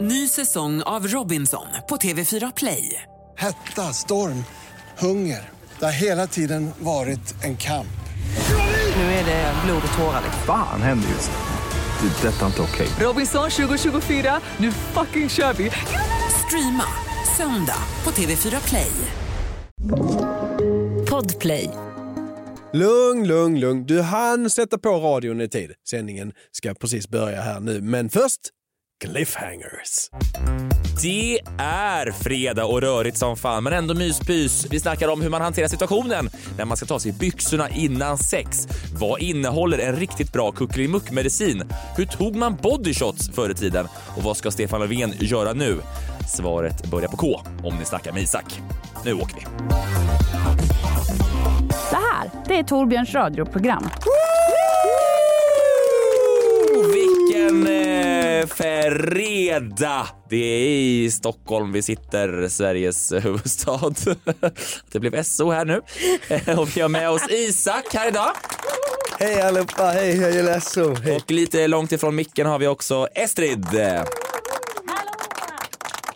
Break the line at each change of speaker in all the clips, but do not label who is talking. Ny säsong av Robinson på TV4 Play.
Hetta, storm, hunger. Det har hela tiden varit en kamp.
Nu är det blod och tårar. liksom.
Fan händer just nu. Det. är Detta är inte okej.
Robinson 2024, nu fucking kör vi! Streama söndag på TV4 Play. Podplay.
Lugn, lugn, lugn. Du hann sätta på radion i tid. Sändningen ska precis börja här nu, men först cliffhangers.
Det är fredag och rörigt som fan, men ändå myspys. Vi snackar om hur man hanterar situationen när man ska ta sig byxorna innan sex. Vad innehåller en riktigt bra kuckelimuck-medicin? Hur tog man bodyshots förr i tiden? Och vad ska Stefan Löfven göra nu? Svaret börjar på K om ni snackar med Isak. Nu åker vi.
Det här, det är Torbjörns radioprogram.
Oh, vilken eh, fredag! Det är i Stockholm vi sitter, Sveriges huvudstad. Det blev SO här nu. Eh, Och vi har med oss Isak här idag.
Hej allihopa, hej, jag är Lasso. Hej.
Och lite långt ifrån micken har vi också Estrid.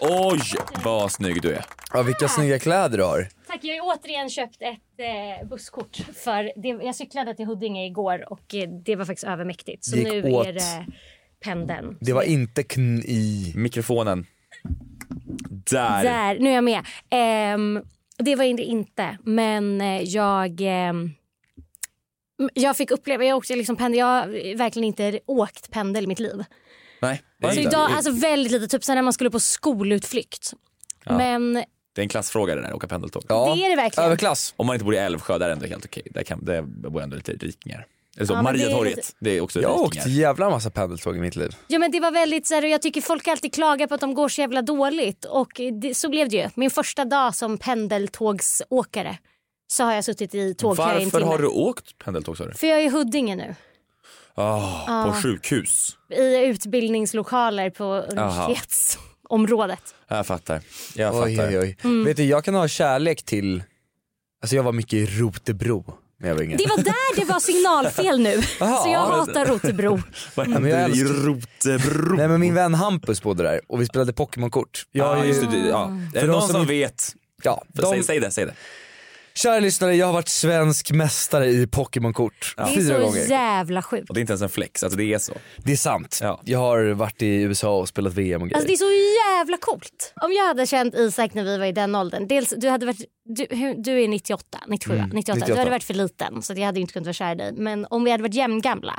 Oj, vad snygg du är.
Ja, vilka snygga kläder du har.
Tack, jag har ju återigen köpt ett eh, busskort. För det, jag cyklade till Huddinge igår och eh, det var faktiskt övermäktigt. Så
Gick
nu
åt.
är det pendeln.
Det var inte kn i.
Mikrofonen. Där.
Där, nu är jag med. Ehm, det var det inte, men eh, jag... ehm, jag fick uppleva, jag åkte liksom pendel, jag har verkligen inte åkt pendel i mitt liv.
Nej, det
Så
är,
idag, alltså väldigt lite, typ sen när man skulle på skolutflykt. Men
det är en klassfråga det där, åka pendeltåg.
Ja,
det är det verkligen.
överklass.
Om man inte bor i Älvsjö, där är det ändå helt okej. Där, kan, där bor ändå lite rikingar. Eller så,
Ja, men
Mariatorget,
det
det,
är lite-
är också
Jag har åkt
rikingar.
jävla massa pendeltåg i mitt liv.
Ja men det var väldigt så här, och jag tycker folk alltid klagar på att de går så jävla dåligt och det, så blev det ju. Min första dag som pendeltågsåkare så har jag suttit i tågkö i en
Varför
timme.
har du åkt pendeltåg sa du?
För jag är i Huddinge nu.
Ah, På sjukhus.
I utbildningslokaler på universitetsområådet.
Jag fattar. Jag
Oj,
fattar.
oj, oj.
Mm.
Vet du, jag kan ha kärlek till, alltså jag var mycket i Rotebro när jag var yngre.
Det var där det var signalfel nu. så jag hatar Rotebro.
Vad
men jag
händer i
älskar-
Rotebro?
Nej men min vän Hampus bodde där och vi spelade Pokémon-kort. Jag har
Ja,
ju-
just det. Ja.
Mm.
Är det
de
någon
som
som,
inte-
vet?
Ja,
Säg,
de,
säg det, säg det.
kära lyssnare, jag har varit svensk mästare i Pokémon-kort.
Det
Fyra
är så
gånger.
jävla sjukt.
Och det är inte ens en flex, alltså det är så.
Det är sant.
Ja.
Jag har varit i USA och spelat VM och grejer.
Alltså det är så jävla coolt. Om jag hade känt Isak när vi var i den åldern. Dels, du, hade varit, du, hur- du är 98, 97,
Mm,
98. Du
98.
hade varit för liten så att jag hade inte kunnat vara kär i dig. Men om vi hade varit jämngamla.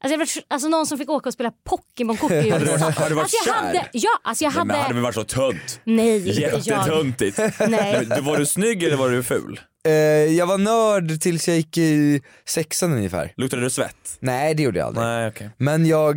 Alltså, jag hade varit, alltså någon som fick åka och spela Pokémon-kort i
Hade du
USA.
varit- hade du varit
alltså, jag
kär?
hade, ja, alltså jag hade...
Men hade vi varit så tönt?
nej, inte jag.
Jättetöntigt.
Nej.
Men du- Var du snygg eller var du ful?
Eh, jag var nörd tills jag gick i sexan ungefär.
Luktade du svett?
Nej det gjorde jag aldrig.
Nej, okej.
Men jag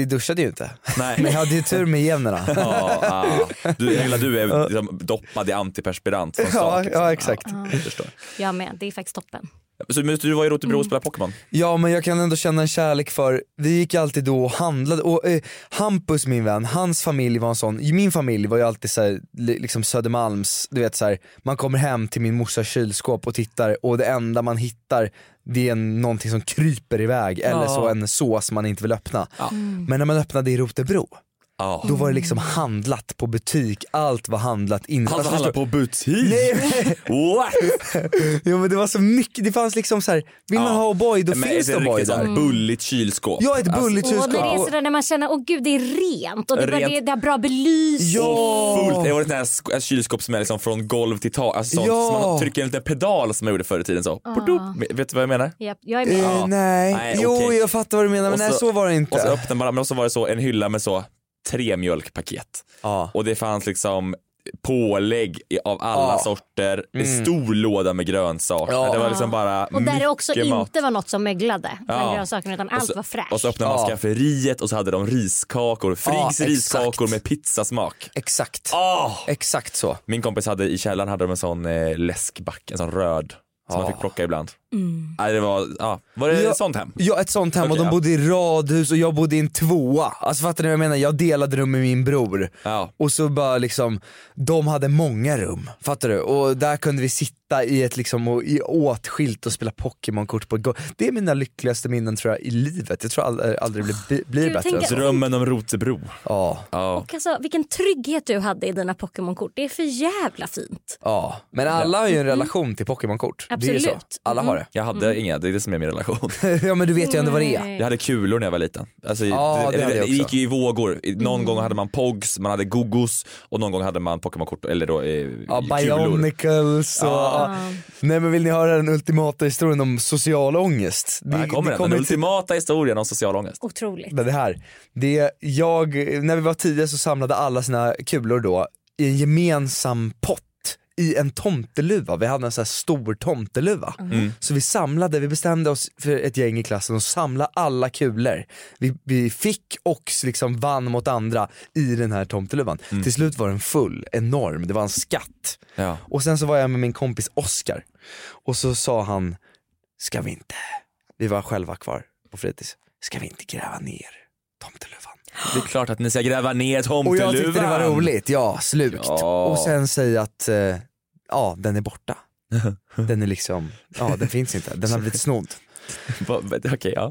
eh, duschade ju inte.
Nej.
Men jag hade ju tur med generna.
Ja, ah. du, hela du är liksom doppad i antiperspirant från start.
ja,
liksom.
ja exakt.
Jag förstår.
Jag med, det är faktiskt toppen.
Så, men du var i
Mm.
Rotebro och spelade Pokémon?
Ja men jag kan ändå känna en kärlek för, vi gick alltid då och handlade, och eh, Hampus min vän, hans familj var en sån, min familj var ju alltid så här, li- liksom Södermalms, du vet så här, man kommer hem till min morsas kylskåp och tittar och det enda man hittar det är en, någonting som kryper iväg eller så en sås man inte vill öppna. Men när man öppnade i Rotebro,
Ja.
då var det liksom handlat på butik, allt var handlat in. Alltså, förstår-
butik?
Nej,
What?
jo, men det var så mycket, det fanns liksom så här. vill man
Ja.
ha O'boy då
Men
finns
är
det
det
O'boy
riktigt
där.
sånt bulligt kylskåp?
Ja ett bulligt
Och när Alltså, det är
kylskåp.
sådär när man känner åh gud det är rent och det, Bara,
Rent.
det, det har bra belysning.
Och
Ja!
fullt. Det var ett sånt här sk- ett kylskåp som är liksom från golv till tak. Alltså sånt
Ja.
som man trycker en liten pedal som man gjorde förr i tiden.
Ah.
Så. Vet- Vet du vad jag menar?
Japp, jag är
Eh,
med.
nej,
Nej,
jo
okej.
jag fattar vad du menar men
Och
nej så var det
Och så
inte.
öppnade man, men så var det så en hylla med så tre mjölkpaket.
Ja.
Och det fanns liksom pålägg i- av alla
Ja.
sorter, en stor låda med grönsaker.
Ja.
Det var liksom bara
Och där det också
mycket mat.
inte var något som möglade
Ja.
bland grönsakerna utan
Och
allt
så-
var fräscht.
Och så öppnade man
Ja.
skafferiet och så hade de riskakor, Friggs
Ja, exakt.
riskakor med pizzasmak.
Exakt,
Oh!
exakt så.
Min kompis hade i källaren hade de en sån eh, läskback, en sån röd som man fick plocka ibland.
Mm.
Nej, det var, ja. var det
Ja.
ett sånt hem?
Ja ett sånt hem och
Okej,
de
ja.
bodde i radhus och jag bodde i en tvåa. Alltså fattar ni vad jag menar? Jag delade rum med min bror.
Ja.
Och så bara liksom, de hade många rum, fattar du? Och där kunde vi sitta sitta i ett liksom, och, i åtskilt och spela Pokémon-kort på ett golv. Det är mina lyckligaste minnen tror jag i livet. Jag tror aldrig, aldrig det blir, blir
Gud,
bättre.
tänk
än så.
att-
Drömmen om Rotebro.
Ja,
Ja.
Och alltså, vilken trygghet du hade i dina Pokémon-kort. Det är för jävla fint.
ja. Mm-hmm. Men alla har ju en relation till Pokémon-kort. Det är ju så.
Absolut.
Alla har det.
Jag hade
Mm.
inga, det är det som är min relation.
ja men du vet ju ändå vad det är.
Jag hade kulor när jag var liten. Alltså,
Ja,
det,
det hade jag
det gick
också.
ju i vågor. I-
Mm.
Någon gång hade man Pogs, man hade Gogos och någon gång hade man Pokémon-kort eller då eh,
Ja,
kulor.
Bionicles och... Ja. Nej men vill ni höra den ultimata historien om social ångest?
Här kommer den, den
till-
ultimata historien om social ångest.
Otroligt.
Men det här, det jag, när vi var tio så samlade alla sina kulor då i en gemensam pott i en tomteluva, vi hade en sån här stor tomteluva. Så vi samlade, vi bestämde oss för ett gäng i klassen och samla alla kulor vi, vi fick och liksom vann mot andra i den här tomteluvan. Till slut var den full, enorm, det var en skatt.
Ja.
Och sen så var jag med min kompis Oscar och så sa han, ska vi inte, vi var själva kvar på fritids, ska vi inte gräva ner tomteluvan?
Det är klart att ni ska gräva ner
Och
tomteluvan.
jag tyckte det var roligt, ja slukt.
Ja.
Och sen säga att, eh, ja den är borta. Den är liksom, ja den finns inte, den har blivit snodd.
Va- va- Okej, ja.
Eh.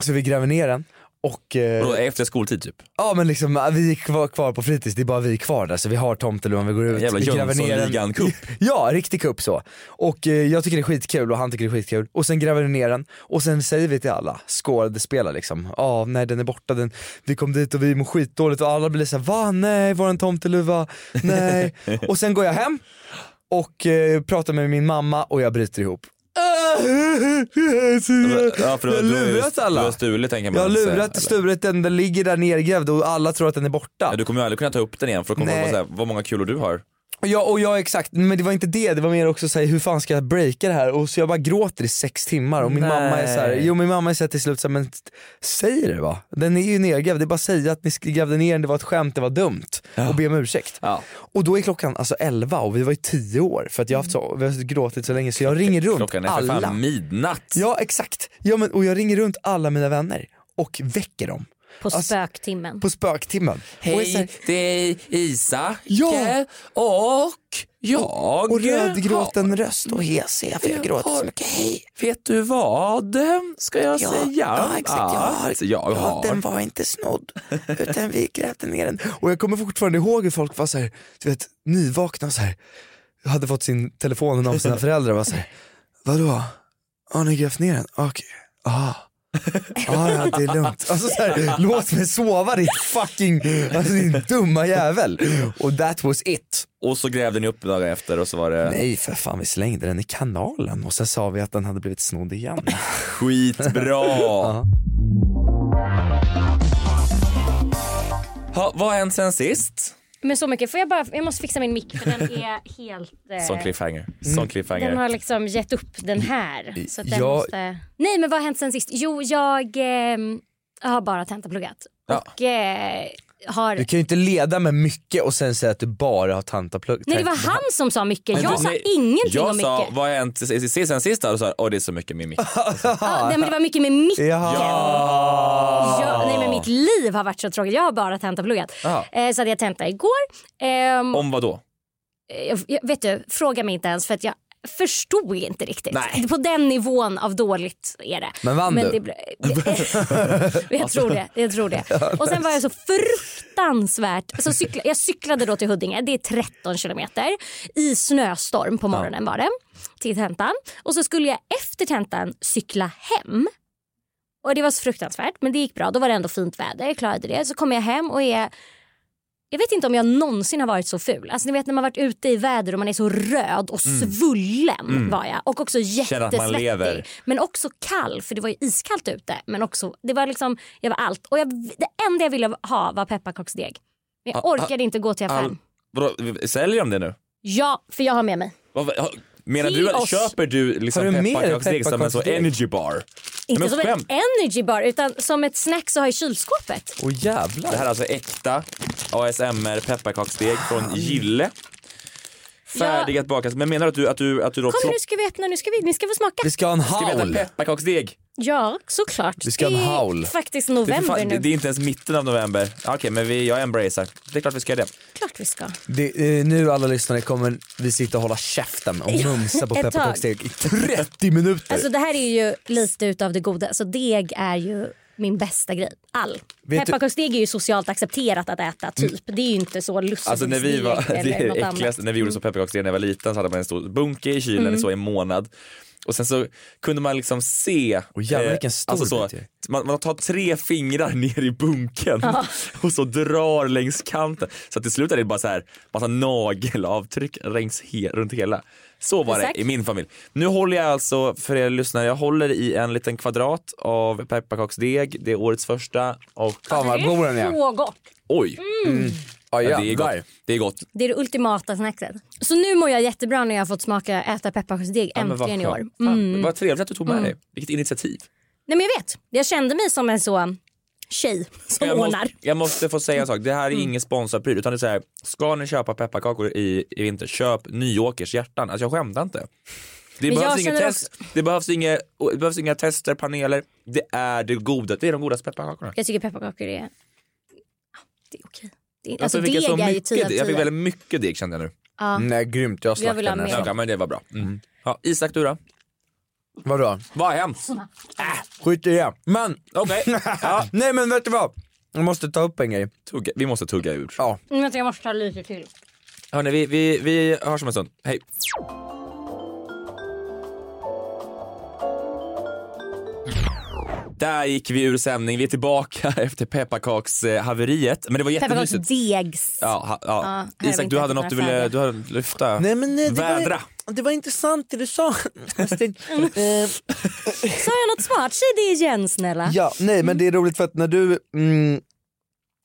Så vi gräver ner den och eh,
Vadå, efter skoltid typ?
Ja men liksom, äh, vi är kvar, kvar på fritids, det är bara vi kvar där så vi har tomteluvan, vi går ut,
Jävla
vi gräver ner den.
Jönssonligan-cup.
Ja, riktig kupp så. Och eh, jag tycker det är skitkul och han tycker det är skitkul. Och sen gräver vi ner den och sen säger vi till alla, skål, det spelar liksom. Ja, nej den är borta, den, vi kom dit och vi mår skitdåligt och alla blir såhär, va? Nej, våran tomteluva, nej. och sen går jag hem och eh, pratar med min mamma och jag bryter ihop.
Ja, för du,
jag
du,
har lurat alla.
Du har stulit tänker man.
Jag har
säga,
lurat
eller?
stulit den, den ligger där nergrävd och alla tror att den är borta.
Ja, du kommer ju aldrig kunna ta upp den igen för då kommer
Nej.
de vara såhär, vad många kulor du har.
Ja och jag exakt, men det var inte det, det var mer också såhär hur fan ska jag breaka det här? Och så jag bara gråter i sex timmar och min
Nej.
mamma är såhär, jo min mamma är såhär till slut såhär, men t- säg det va? Den är ju nergrävd, det är bara att säga att ni sk- grävde ner den, det var ett skämt, det var dumt. Och be om ursäkt.
Ja.
Och då är klockan alltså 11 och vi var ju 10 år för att jag har, haft så, vi har gråtit så länge så jag ringer runt
Klockan är för
alla.
fan midnatt.
Ja exakt, ja, men, och jag ringer runt alla mina vänner och väcker dem
På
Alltså-
spöktimmen.
på spöktimmen. Och är så här,
det är Isak
Ja.
och jag.
och rödgråten röst och hes är jag, för jag gråter så mycket. Hej,
Vet du vad ska jag säga?
Ja, exakt. Jag har,
Att jag har.
Den var inte snodd, utan vi grävde ner den. Och jag kommer fortfarande ihåg hur folk var så här, du vet, nyvakna så här. Jag hade fått sin telefon av sina föräldrar och var så här, vadå? Har ni grävt ner den? Okej, ah. Ah, ja, det är lugnt. Alltså, så här, låt mig sova din fucking, alltså, din dumma jävel. Och that was it.
Och så grävde ni upp dagen efter och så var det
Nej för fan vi slängde den i kanalen och sen sa vi att den hade blivit snodd igen.
skitbra. ha, vad har hänt sen sist?
Men så mycket. Får jag bara, jag måste fixa min mick för den är helt... eh,
Som cliffhanger. Som cliffhanger.
Den har liksom gett upp den här. Så att den
Jag-
måste... Nej men vad har hänt sen sist? Jo jag ehm, har bara tentapluggat.
Ja.
Och eh, har...
Du kan ju inte leda med mycket och sen säga att du bara har tantaplugg.
Nej det var han som sa mycket. Jag sa
Nej,
ingenting
jag
om mycket.
sa, vad har hänt sen- sen sen- sen sist? Och sa, åh det är så mycket med mycket.
Ja, nej, men det var mycket med micken.
Ja.
Jag, nej, men mitt liv har varit så tråkigt. Jag har bara tentapluggat.
Ja.
Eh, så hade jag tenta igår. Ehm,
Om vad då?
Eh, jag, jag, vet du, fråga mig inte ens för att jag förstod inte riktigt.
Nej.
På den nivån av dåligt är det.
Men vann du?
Det, blir- jag tror det. Jag tror det. Och sen var jag så fruktansvärt... Så cykla, jag cyklade då till Huddinge, det är 13 kilometer, i snöstorm på morgonen var det, till tentan. Och så skulle jag efter tentan cykla hem. Och det var så fruktansvärt men det gick bra. Då var det ändå fint väder, jag klarade det. Så kommer jag hem och är jag vet inte om jag någonsin har varit så ful. Alltså ni vet när man varit ute i väder och man är så röd och svullen var jag. Och också
Mm. Känner att man lever.
jättesvettig. Men också kall för det var ju iskallt ute. Men också, det var liksom, jag var allt. Och jag, det enda jag ville ha var pepparkaksdeg. Men jag
Ah, ah,
orkade inte gå till affären.
All, vadå, säljer de det nu?
Ja, för jag har med mig.
Vad- vad- ha- Menar
Till
du att
oss.
köper du liksom
Har du med dig
pepparkaksdeg som en så
pepparkaksdeg?
energy bar?
Inte
men
som en
skämt.
energy bar utan som ett snack så har jag i kylskåpet.
Åh jävlar.
Det här är alltså äkta ASMR pepparkaksdeg från Gille. Färdigat bakat. Men menar du att du, att du, att du då
Kom nu ska vi öppna, nu ska vi, ni ska få smaka.
Vi ska ha en
Ska vi
haul.
äta pepparkaksdeg?
Ja, såklart.
Vi ska ha en
Det är
haul.
faktiskt
Det är, för
november
fan,
nu.
det, det är inte ens mitten av november. Okej, men vi, jag embracear. Det är klart vi ska göra det.
klart vi ska.
Det, eh, nu alla lyssnare kommer vi sitta och hålla käften och mumsa på
ett tag.
pepparkaksdeg i 30 minuter.
Alltså det här är ju lite utav det goda. Så deg är ju min bästa grej. All.
Vet du-
Pepparkaksdeg är ju socialt accepterat att äta typ. Det är ju inte så lustigt.
Mm. Alltså när vi var, det
eller
är
något
det
annat.
äckligaste, när vi gjorde så pepparkaksdeg när jag var liten så hade man en stor bunke i kylen i så i en månad. Och sen så kunde man liksom se,
Och jävlar, vilken stor
alltså så,
bit ju.
man, man tar tre fingrar ner i bunken och så drar längs kanten. Så till slut är det bara så här massa nagelavtryck längs he, runt hela. Så var
Exakt.
det i min familj. Nu håller jag alltså, för er lyssnare, jag håller i en liten kvadrat av pepparkaksdeg. Det är årets första och
Fan vad god den är.
Så gott.
oj,
Ja,
ja, det, är gott. det är gott.
Det är det ultimata snacket. Så nu mår jag jättebra när jag har fått smaka äta pepparkaksdeg
Ja, men vad
äntligen i
skönt.
år. Mm.
Fan, Vad trevligt att du tog med dig. Vilket initiativ.
Nej men jag vet, jag kände mig som en så um, tjej som
Jag måste,
ordnar. Mm.
jag måste få säga en sak, det här är ingen sponsrad pryl utan det är så här, ska ni köpa pepparkakor i, i vinter, köp Nyåkers hjärtan. Alltså jag skämtar inte. Det
Men
behövs,
jag
inget
känner
test, det, behövs inga, det behövs inga tester, paneler. Det är det goda, det är de godaste pepparkakorna.
Jag tycker pepparkakor är, Ja, det är okej. Det är,
Jag
alltså
fick jag
deg är ju typ-
mycket,
10 av 10.
jag fick väldigt mycket deg kände jag nu.
Nej grymt, jag
Jag vill
slaktar
ha
den.
mer.
här.
Ja. men det var bra. Mm. Ja, Isak du då?
Vadå?
Vad har hänt?
Skit i det. Men,
Okej, ja,
nej men vet du vad? Jag måste ta upp en grej.
tugga- vi måste tugga ur.
Ja.
Nu vänta Mm, jag måste ta lite till.
Hörni, vi, vi, vi hörs om en stund. Hej. Där gick vi ur sändning. Vi är tillbaka efter pepparkakshaveriet. Men det var jättemysigt.
Pepparkaksdegs.
Ja, ha, ja.
här har vi
Isak,
inte
du hade
haft
något du
några
ville,
färger.
du hade lyfta.
Nej men nej, det,
Vädra.
Var, det var intressant det du sa. Sten.
Mm.
Eh,
Sa jag något smart? Säg det igen snälla.
ja, nej
Mm.
men det är roligt för att när du mm,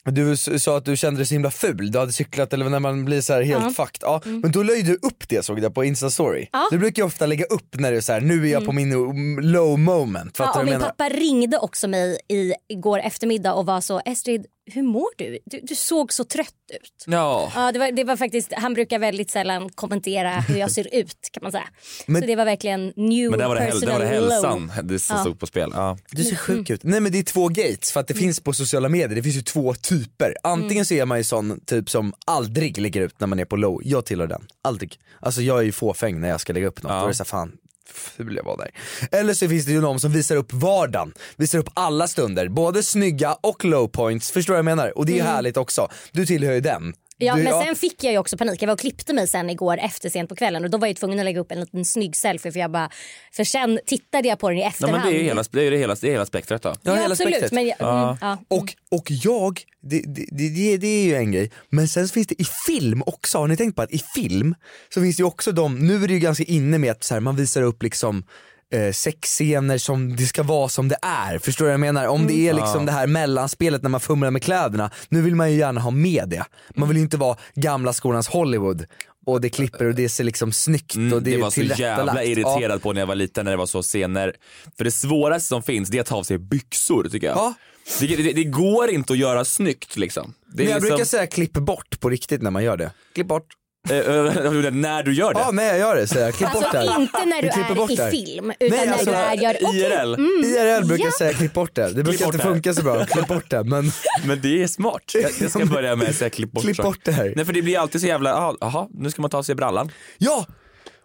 du s- sa att du kände dig så himla ful, du hade cyklat eller när man blir så här helt fucked. Ja, Men då la ju du upp det såg jag på instastory.
Mm. Ja.
Du brukar ju ofta lägga upp när du är så här, nu är jag på min mm, low moment. Fattar
Ja,
du
och
vad
min
jag menar?
pappa ringde också mig i, igår eftermiddag och var så Estrid, hur mår du? Du, du såg så trött ut.
Ja.
Ja, det, var, det var faktiskt, han brukar väldigt sällan kommentera hur jag ser ut kan man säga. så det var verkligen new
Men där var det, häl, där var
personal
det
low.
hälsan det som stod på spel. Ja.
Du ser sjuk
Mm.
ut. Nej men det är två gates för att det finns på sociala medier, det finns ju två typer. Antingen
Mm.
så är man ju sån typ som aldrig lägger ut när man är på low, jag tillhör den. Aldrig. Alltså jag är ju fåfäng när jag ska lägga upp något, då är det såhär fan ful jag var där. Eller så finns det ju någon som visar upp vardagen, visar upp alla stunder, både snygga och low points, förstår du vad jag menar? Och det är ju härligt också, du tillhör ju den.
Mm. Ja,
du,
men sen fick jag ju också panik. Jag var och klippte mig sen igår efter sent på kvällen och då var jag ju tvungen att lägga upp en liten snygg selfie för jag bara, för sen tittade jag på den i
Nej,
efterhand.
men det är ju hela, det är ju det hela, det är hela spektrat. Då.
Ja,
Ja,
hela
absolut.
spektrat.
Men jag, mm, ja.
Och, och jag, det, det, det- det, det är ju en grej, men sen så finns det i film också, har ni tänkt på att i film så finns det ju också de, nu är det ju ganska inne med att så här, man visar upp liksom eh, sexscener som det ska vara som det är, förstår du vad jag menar? Om det är
Mm.
liksom det här mellanspelet när man fumlar med kläderna, nu vill man ju gärna ha med det. Man vill ju inte vara gamla skolans Hollywood och det klipper och det ser liksom snyggt och
Mm,
det,
det
är
var så
tillrättalagt.
jävla irriterad
Ja.
på när jag var liten när det var så scener. För det svåraste som finns det är att ta av sig byxor tycker jag.
Ja.
Det, det, det går inte att göra snyggt liksom. Det
Men jag
liksom
brukar säga klipp bort på riktigt när man gör det. Klipp bort.
eh, eh, när du gör det.
Ja, nej jag gör det säger jag. Klipp bort det här.
Alltså inte när du
Vi klipper
är
bort
i
det här.
film utan
Nej, alltså,
när du är, gör, okej, Mm.
IRL.
IRL brukar jag säga klipp bort det, det brukar
bort
inte
det här.
funka så bra, klipp bort det men
Men det är smart. Jag, jag ska börja med att säga klipp bort
Klipp
saker.
bort det här.
Nej för det blir alltid så jävla, aha, aha nu ska man ta av sig brallan.
ja!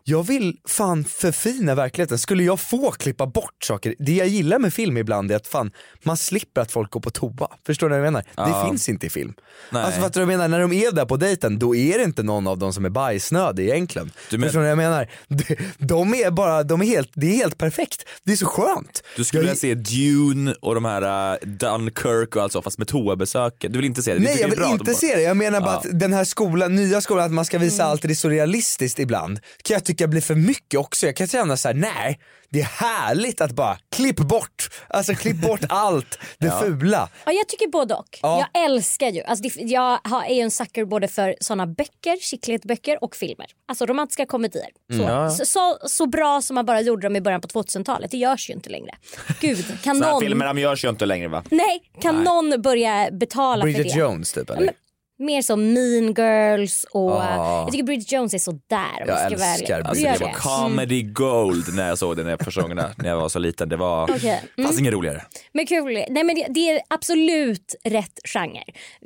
Jag vill fan förfina verkligheten, skulle jag få klippa bort saker, det jag gillar med film ibland är att fan man slipper att folk går på toa, förstår du vad jag menar? Det finns inte i film.
Nej.
Alltså fattar du vad jag menar, när de är där på dejten då är det inte någon av dem som är bajsnödig egentligen.
Du men-
Förstår du vad jag menar? De, de är bara, de är helt, det är helt perfekt, det är så skönt.
Du skulle
Jag-
vilja se Dune och de här eh, Dunkirk och allt så fast med toabesöken. Du vill inte se det? Du
Nej
tycker
jag
det är
vill
bra att de
inte
bara-
se det, jag menar bara
Ja.
att den här skolan, nya skolan, att man ska visa allt det är så realistiskt ibland. Kan jag tycka blir för mycket också, jag kan känna så här: nej det är härligt att bara klipp bort, alltså klipp bort allt det fula.
Ja, jag tycker både och.
Ja.
Jag älskar ju, alltså det, jag har, är ju en sucker både för såna böcker, chicklet-böcker och filmer. Alltså romantiska komedier. Så,
Mm.
så, så, så bra som man bara gjorde dem i början på 2000-talet, det görs ju inte längre. Gud, kan
Så här
någon...
filmer de görs ju inte längre va?
Nej, kan någon börja betala för
Bridget
det?
Jones typ eller?
mer som mean girls och eh,
Ah.
jag tycker Bridget Jones är sådär om
Jag
jag ska vara
älskar
ärlig.
Alltså
Gör
det var comedy gold när jag såg den här första gången när jag var så liten. Det var,
Okej. Mm.
fanns inget roligare.
Men kul. Nej, men det, det är absolut rätt genre.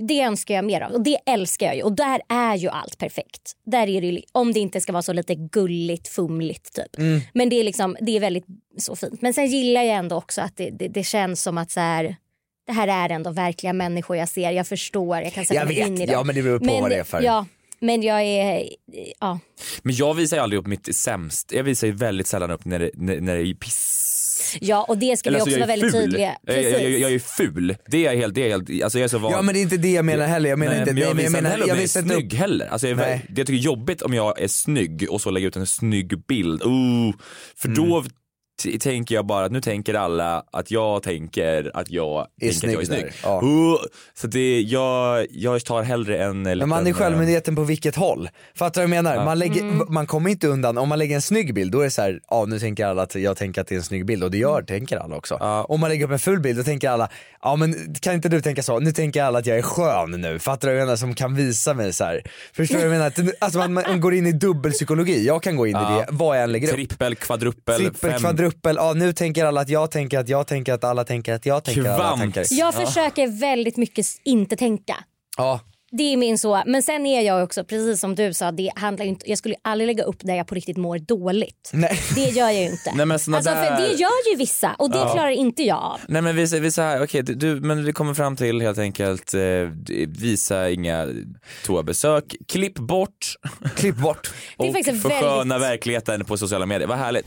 Det önskar jag mer av och det älskar jag ju. Och där är ju allt perfekt. Där är det, ju- om det inte ska vara så lite gulligt, fumligt typ.
Mm.
Men det är, liksom, det är väldigt så fint. Men sen gillar jag ändå också att det, det, det känns som att så här, det här är ändå verkliga människor jag ser. Jag förstår, jag kan sätta
Jag
mig
vet.
in i dem.
Ja, men det beror på vad det är för.
Ja, men jag är... Ja.
Men jag visar ju aldrig upp mitt sämst. Jag visar ju väldigt sällan upp när det, när, när det är piss.
ja, och det ska vi
Eller, alltså,
också
alltså,
jag är
vara väldigt
ful.
tydliga.
Jag, jag, jag,
Precis.
jag är ful. Det är jag helt, det är jag helt alltså jag är så van.
Ja men det är inte det jag menar heller, jag menar
Nej,
inte,
men jag
nej, men
visar
jag
inte
menar,
heller om
jag
jag är
visar inte
snygg
upp.
heller. Alltså jag, är,
Nej.
det jag tycker det är jobbigt om jag är snygg och så lägger ut en snygg bild. Ooh, för
Mm.
då t- tänker jag bara att nu tänker alla att jag tänker att jag är tänker att jag är
snygg där,
snygg.
ja.
Ooh, så det, jag, jag tar hellre en
Men man är
eh,
självmedveten på vilket håll. Fattar du vad jag menar? Man, lägger, man kommer inte undan, om man lägger en snygg bild då är det så här, ja nu tänker alla att jag tänker att det är en snygg bild och det gör tänker alla också. Om man lägger upp en ful bild då tänker alla, ja men kan inte du tänka så, nu tänker alla att jag är skön nu. Fattar du vad jag menar? Som kan visa mig så här. Förstår du vad jag menar? Att- Alltså man, man går in i dubbelpsykologi, jag kan gå in i det vad jag än lägger upp.
eh, Trippel, kvadruppel,
Trippel,
fem.
kvadruppel, ja nu tänker alla att jag tänker att jag tänker att alla tänker att jag tänker att alla
Kvant.
tänker.
Jag försöker väldigt mycket inte tänka.
Ja.
Det är min så. Men sen är jag också, precis som du sa, det handlar ju inte, jag skulle ju aldrig lägga upp där jag på riktigt mår dåligt.
Nej.
Det gör jag ju inte.
Nej, men såna
alltså, för
där-
det gör ju vissa och det klarar inte jag av.
Nej men vi, vi så här, okej du- du, men vi kommer fram till helt enkelt eh, d- visa inga toabesök, klipp bort
Klipp bort.
Det är
och
faktiskt
försköna
väldigt-
verkligheten på sociala medier. Vad härligt.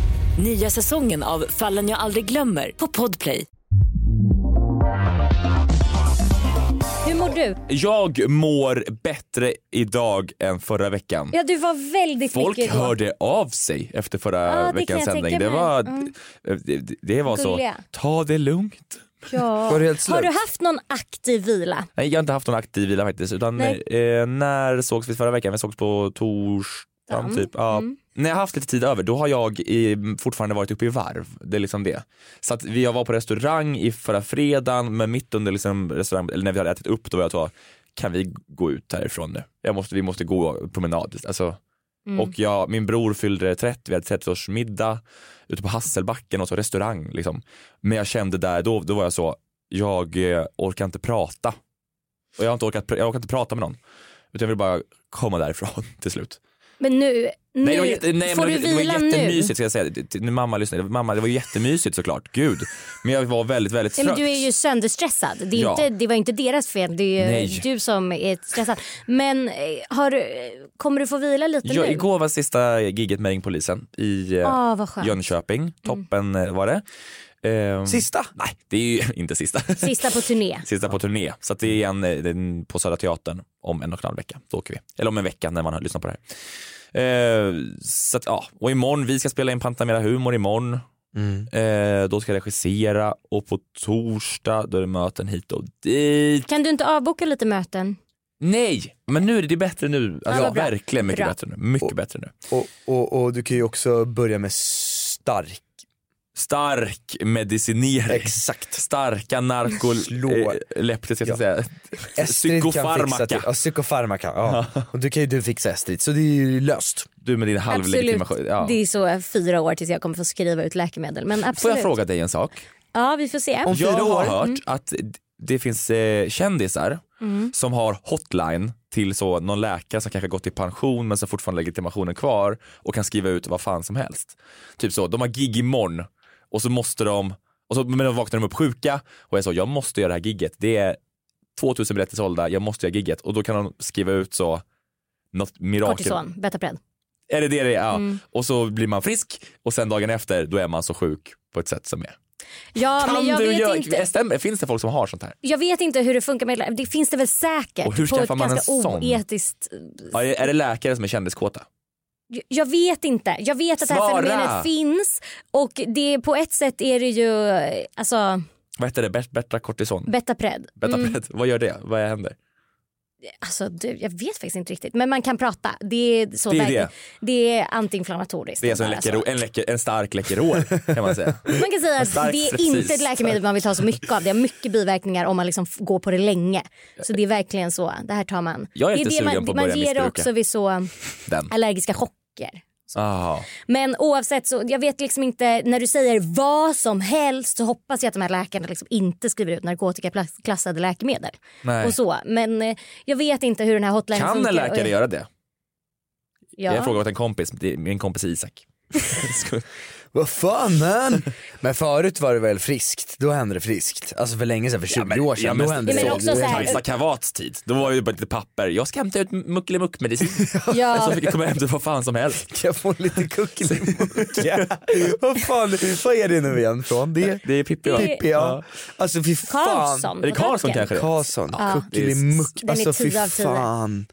Nya säsongen av Fallen jag aldrig glömmer på Podplay.
Hur mår du?
Jag mår bättre idag än förra veckan.
Ja, du var väldigt
Folk
mycket då.
hörde av sig efter förra
Ja, det kan
veckans
jag
sändning.
tänka
Det
mig.
var,
Mm.
det, det- det var så,
Gulliga.
ta det lugnt.
Ja.
Var du helt slut?
Har du haft någon aktiv vila?
Nej, jag har inte haft någon aktiv vila faktiskt. Utan,
Nej.
eh, när sågs vi förra veckan? Vi sågs på torsdagen
Dan.
typ. Ja. När jag har haft lite tid över, då har jag eh, fortfarande varit uppe i varv. Det är liksom det. Så att vi- jag var på restaurang i förra fredagen, men mitt under liksom restaurang, eller när vi hade ätit upp, då var jag så, kan vi gå ut härifrån nu? Jag måste, vi måste gå promenad. Alltså, Och jag, min bror fyllde 30, vi hade 30-årsmiddag ute på Hasselbacken och så restaurang. Liksom. Men jag kände där, då, då var jag så, jag eh, orkar inte prata. Och jag har inte orkat, pr- jag orkar inte prata med någon. Utan jag vill bara komma därifrån till slut.
Men nu, nu
det var, jätte, nej,
får
men det,
du
var- det var
vila nu.
jättemysigt ska jag säga. Det- det- Nu mamma lyssnade, mamma det var jättemysigt såklart, gud. Men jag var väldigt, väldigt
Nej,
trött.
men du är ju sönderstressad. Det, är
Ja.
inte, det var inte deras fel. Det är ju
Nej.
du som är stressad. Men eh, har, du- kommer du få vila lite
Ja,
nu?
igår var sista gigget med Ringpolisen i eh,
Ah, vad skönt.
Jönköping, toppen eh, var det. Ehm,
Sista?
Nej, det är ju inte sista.
Sista på turné.
Sista på turné. Så att det är igen eh, den på Södra Teatern om en och en halv vecka. Då åker vi. Eller om en vecka när man har lyssnat på det här. Eh, så att, ja. Och imorgon, vi ska spela in Pantamera Humor imorgon.
Mm.
Eh, då ska jag regissera och på torsdag då är det möten hit och dit.
Kan du inte avboka lite möten?
Nej, men nu är det, det är bättre nu. Alltså,
Ja, vad bra.
verkligen mycket
Bra.
bättre nu. Mycket bättre nu.
Och, och, och du kan ju också börja med stark.
Stark medicinering.
Exakt.
Starka eh,
Slå.
narkoleptiska,
Ja.
ja. säga.
Estrid kan fixa till-
psykofarmaka.
Ja, psykofarmaka. Ja. Och du kan ju du fixa Estrid, så det är ju löst.
Du med din
Absolut.
halvlegitimation. Ja.
Det är så eh, fyra år tills jag kommer få skriva ut läkemedel. Men absolut.
Får jag fråga dig en sak?
Ja, vi får se. Mm.
Om
Jag
fyra
har
år. Mm.
hört att d- det finns eh, kändisar som har hotline till så någon läkare som kanske gått i pension men som fortfarande har legitimationen kvar och kan skriva ut vad fan som helst. Typ så, de har gig imorgon och så måste de Och så, men då vaknade de upp sjuka och jag sa jag måste göra det här gigget. Det är 2000 biljetter sålda, jag måste göra gigget. Och då kan de skriva ut så något mirakel.
Kortison, Betapred.
Är det det det är? Ja.
Mm.
Och så blir man frisk och sen dagen efter då är man så sjuk på ett sätt som är.
Ja, men jag vet
göra-
inte.
Stämmer- Finns det folk som har sånt här?
Jag vet inte hur det funkar med det finns det väl säkert
Och hur
på
skaffar
ett
man en
ganska
sån?
oetiskt...
Ja, Är är det läkare som är kändiskåta?
Jag- Jag vet inte. Jag vet att det
Svara!
här fenomenet finns och det, på ett sätt är det ju eh, alltså,
Vad heter det? Bet- Bertra kortison?
Betapred.
Betapred. Vad gör det? Vad händer?
Alltså, du, jag vet faktiskt inte riktigt men man kan prata. Det är, så
Det är
verkligen-
det.
det är antiinflammatoriskt. Alltså,
Det är som en,
Bara
läckerol, en, läcker, en stark Läkerol kan man säga.
Man kan säga
En
att
stark
det är
sepsis.
inte ett läkemedel man vill ta så mycket av. Det har mycket biverkningar om man liksom f- går på det länge. Så det är verkligen så. Det här tar man.
Jag är
det
inte
det
sugen
man,
på att
Man
börja
ger det
missbruka.
också vid så
Den. Ah.
allergiska chocker.
Aha.
Men oavsett så, jag vet liksom inte, när du säger vad som helst så hoppas jag att de här läkarna liksom inte skriver ut narkotikaklassade läkemedel.
Nej.
Och så. Men eh, jag vet inte hur den här hotlinen
Kan
funkar.
en
Och
läkare
jag-
göra det?
Ja.
Jag frågade åt en kompis, det är min kompis Isak.
Vad fan man? Men förut var det väl friskt, då hände det friskt. Alltså för länge sedan, för 20 år sedan, då hände det.
så, Kajsa Kavats tid, då var det ju bara lite papper. Jag ska hämta ut muckelimuck-medicin.
Ja.
Så fick jag komma hem till vad fan som helst.
Kan jag få lite kuckelimuck? vad fan, vad är det nu igen från? Det,
det är Pippi
va?
Pippi ja. Alltså fy fan.
Karlsson på Är det Karlsson burken? kanske det är?
Karlsson,
Ja.
kuckelimuck.
Den är
Alltså fy
tio av tio. Mm.
fan.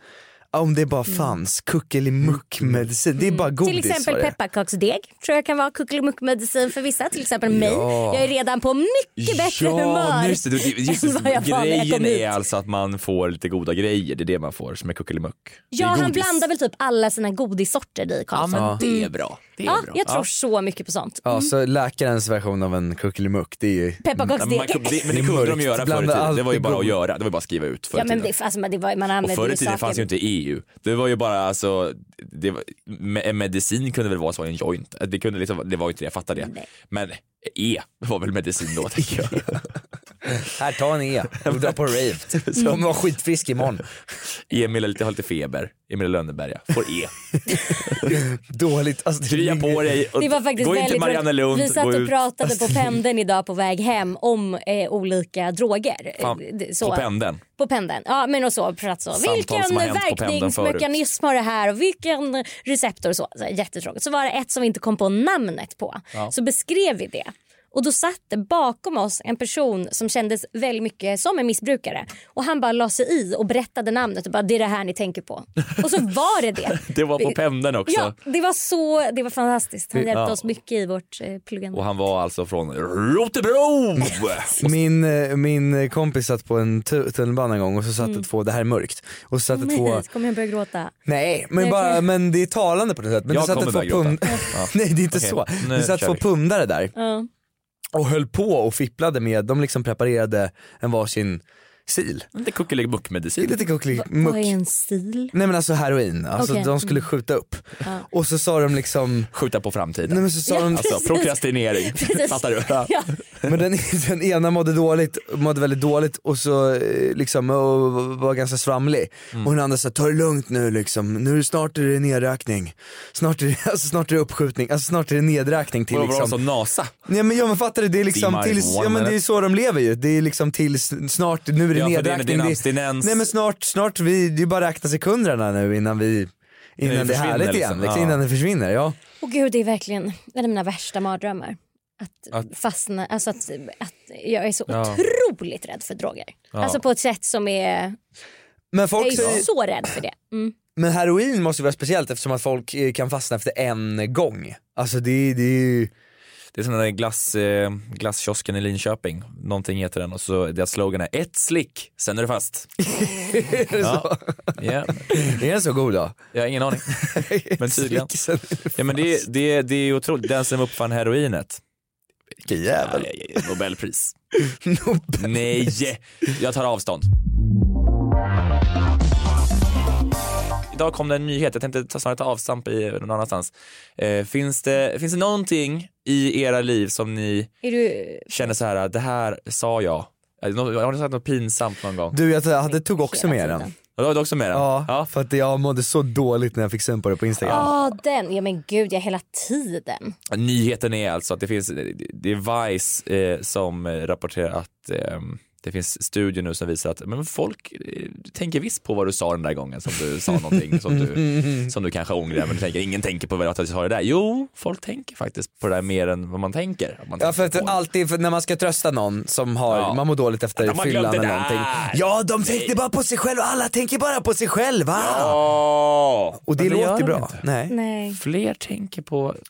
Ja, Om det bara fanns Mm. kuckelimuck-medicin, det är bara godis.
Till exempel
var det.
pepparkaksdeg tror jag kan vara kuckelimuckmedicin för vissa. Till exempel mig.
Ja.
Jag är redan på mycket bättre humör
just det, det- just
än vad
det.
jag var när jag
Grejen
kom hit.
är alltså att man får lite goda grejer, det är det man får som är kuckelimuck.
Ja, han blandar väl typ alla sina godissorter i Karlsson. Mm.
bra.
Ja, jag tror så mycket på sånt.
Ja, så läkarens version av en kuckelimuck, det är ju...
Pepparkaksdeg.
Mm, Men, man kunde- det, men det kunde de
Mörkt,
göra förr i
blanda
tiden, det
allt
var ju
i
bara att
blod.
göra, det var ju bara att skriva ut förr i
Ja, men
tiden.
det, alltså, men det var, man
Och
använde
förr
ju
i tiden
saker.
fanns ju inte EU. Det var ju bara alltså, det var, me- en medicin kunde väl vara så en joint. Det, kunde liksom, det var ju inte det, jag fattar det. Men E var väl medicin då tänker jag.
Här, ta en E och dra på rave. Du kommer vara skitfrisk imorgon.
Emil har lite, har lite feber, Emil i Lönneberga, får E.
Dåligt. Alltså, det-
Krya på dig och
Det var faktiskt
gå in till
väldigt
Marianne
roligt.
Lund,
Vi satt
gå
och
ut.
pratade på pendeln idag på väg hem om eh, olika droger.
Fan,
Eh, det-
på pendeln.
På pendeln. Ja, men och så. Pratat så.
Samtal som har
Vilken
hänt på pendeln
verkningsmekanism har det här och vilken receptor och så. så här, jättetråkigt. Så var det ett som vi inte kom på namnet på.
Ja.
Så beskrev vi det. Och då satt det bakom oss en person som kändes väldigt mycket som en missbrukare. Och han bara la sig i och berättade namnet och bara det är det här ni tänker på. Och så var det det.
Det var på pendeln också.
Ja, det var så, det var fantastiskt. Han
Ja.
hjälpte oss mycket i vårt eh, pluggande.
Och han var alltså från Rotebro!
Min, eh, min kompis satt på en tu- tunnelbana en gång och så satt
Mm.
det två, det här är mörkt, och så satt
Kom
det två
hit, kommer jag börja gråta?
Nej, men, bara, men det är talande på något sätt. Men
Jag
det satt
kommer
det två
börja gråta.
pund... Nej det är inte
Okej,
så.
nu
Det satt
kör
två
vi.
pundare där
Ja.
och höll på och fipplade med, de liksom preparerade en varsin sil.
Lite kuckelimuck-medicin.
Lite
Vad är
kuckelimuck.
en stil?
Nej men alltså heroin, alltså
Okej.
de skulle skjuta upp. Och så sa de liksom...
Skjuta på framtiden.
Nej, men så sa
Ja,
de...
precis.
Alltså prokrastinering,
Precis.
fattar du?
Ja.
Men den, den ena mådde dåligt, mådde väldigt dåligt och så eh, liksom och var ganska svamlig.
Mm.
Och den andra sa, ta det lugnt nu liksom, nu snart är det nedräkning. Snart är det, alltså, snart är det uppskjutning, alltså, snart är det nedräkning till
Vadå, var de
liksom.
som NASA?
Nej men, ja, men fattar du, det är liksom
Timmar,
tills,
one
ja, men det är
minute.
så de lever ju. Det är liksom tills, snart, nu är det
Ja, för det är
nedräkning.
din
Det är-
abstinens.
Nej men snart, snart, vi, det är bara att räkna sekunderna nu innan vi,
det
innan det, är
försvinner,
härligt igen.
liksom.
Liksom.
Ja.
Innan det försvinner, ja.
Åh gud, det är verkligen en av mina värsta mardrömmar. Att, fastna, alltså att, att jag är så
Ja.
otroligt rädd för droger.
Ja.
Alltså på ett sätt som är,
Men
jag
folk
är
säger-
så rädd för det. Mm.
Men heroin måste ju vara speciellt eftersom att folk eh, kan fastna efter en gång. Alltså det, det är ju...
Det är som den där glass, eh, glasskiosken i Linköping, någonting heter den och så deras slogan är ett slick, sen är du fast.
Är det så?
Ja.
Är den så god då?
Jag har ingen aning. Men tydligen. Ja, men det, är- det, är- det är ju otroligt, den som uppfann heroinet.
Vilken jävel.
Nobelpris. Nej, jag tar avstånd. Idag kom det en nyhet, jag tänkte ta- snarare ta avstamp i någon annanstans. Eh, finns, det, finns det någonting i era liv som ni
Är du,
känner så här, det här sa jag Är det något- Har ni sagt något pinsamt någon gång?
Du jag hade, tog också med den.
Ja, du hade också med den?
Ja, för att jag mådde så dåligt när jag fick syn på det på Instagram.
Ja, den. Ja, men gud, jag hela tiden.
Nyheten är alltså att det finns, det är Vice eh, som eh, rapporterar att eh, det finns studier nu som visar att men folk eh, tänker visst på vad du sa den där gången som du sa någonting som du, som du kanske ångrar men du tänker ingen tänker på vad jag sa det där. Jo, folk tänker faktiskt på det där mer än vad man tänker. Att Man
Ja för att alltid för när man ska trösta någon som har, man mår dåligt
De
efter
har
fyllan
glömt det
eller
där.
någonting. Ja de tänkte bara på sig själva, alla tänker bara på sig själva.
Ja.
Och det
Men gör
låter
de
bra.
inte.
Nej.
Nej.
Fler tänker på...
Alltså,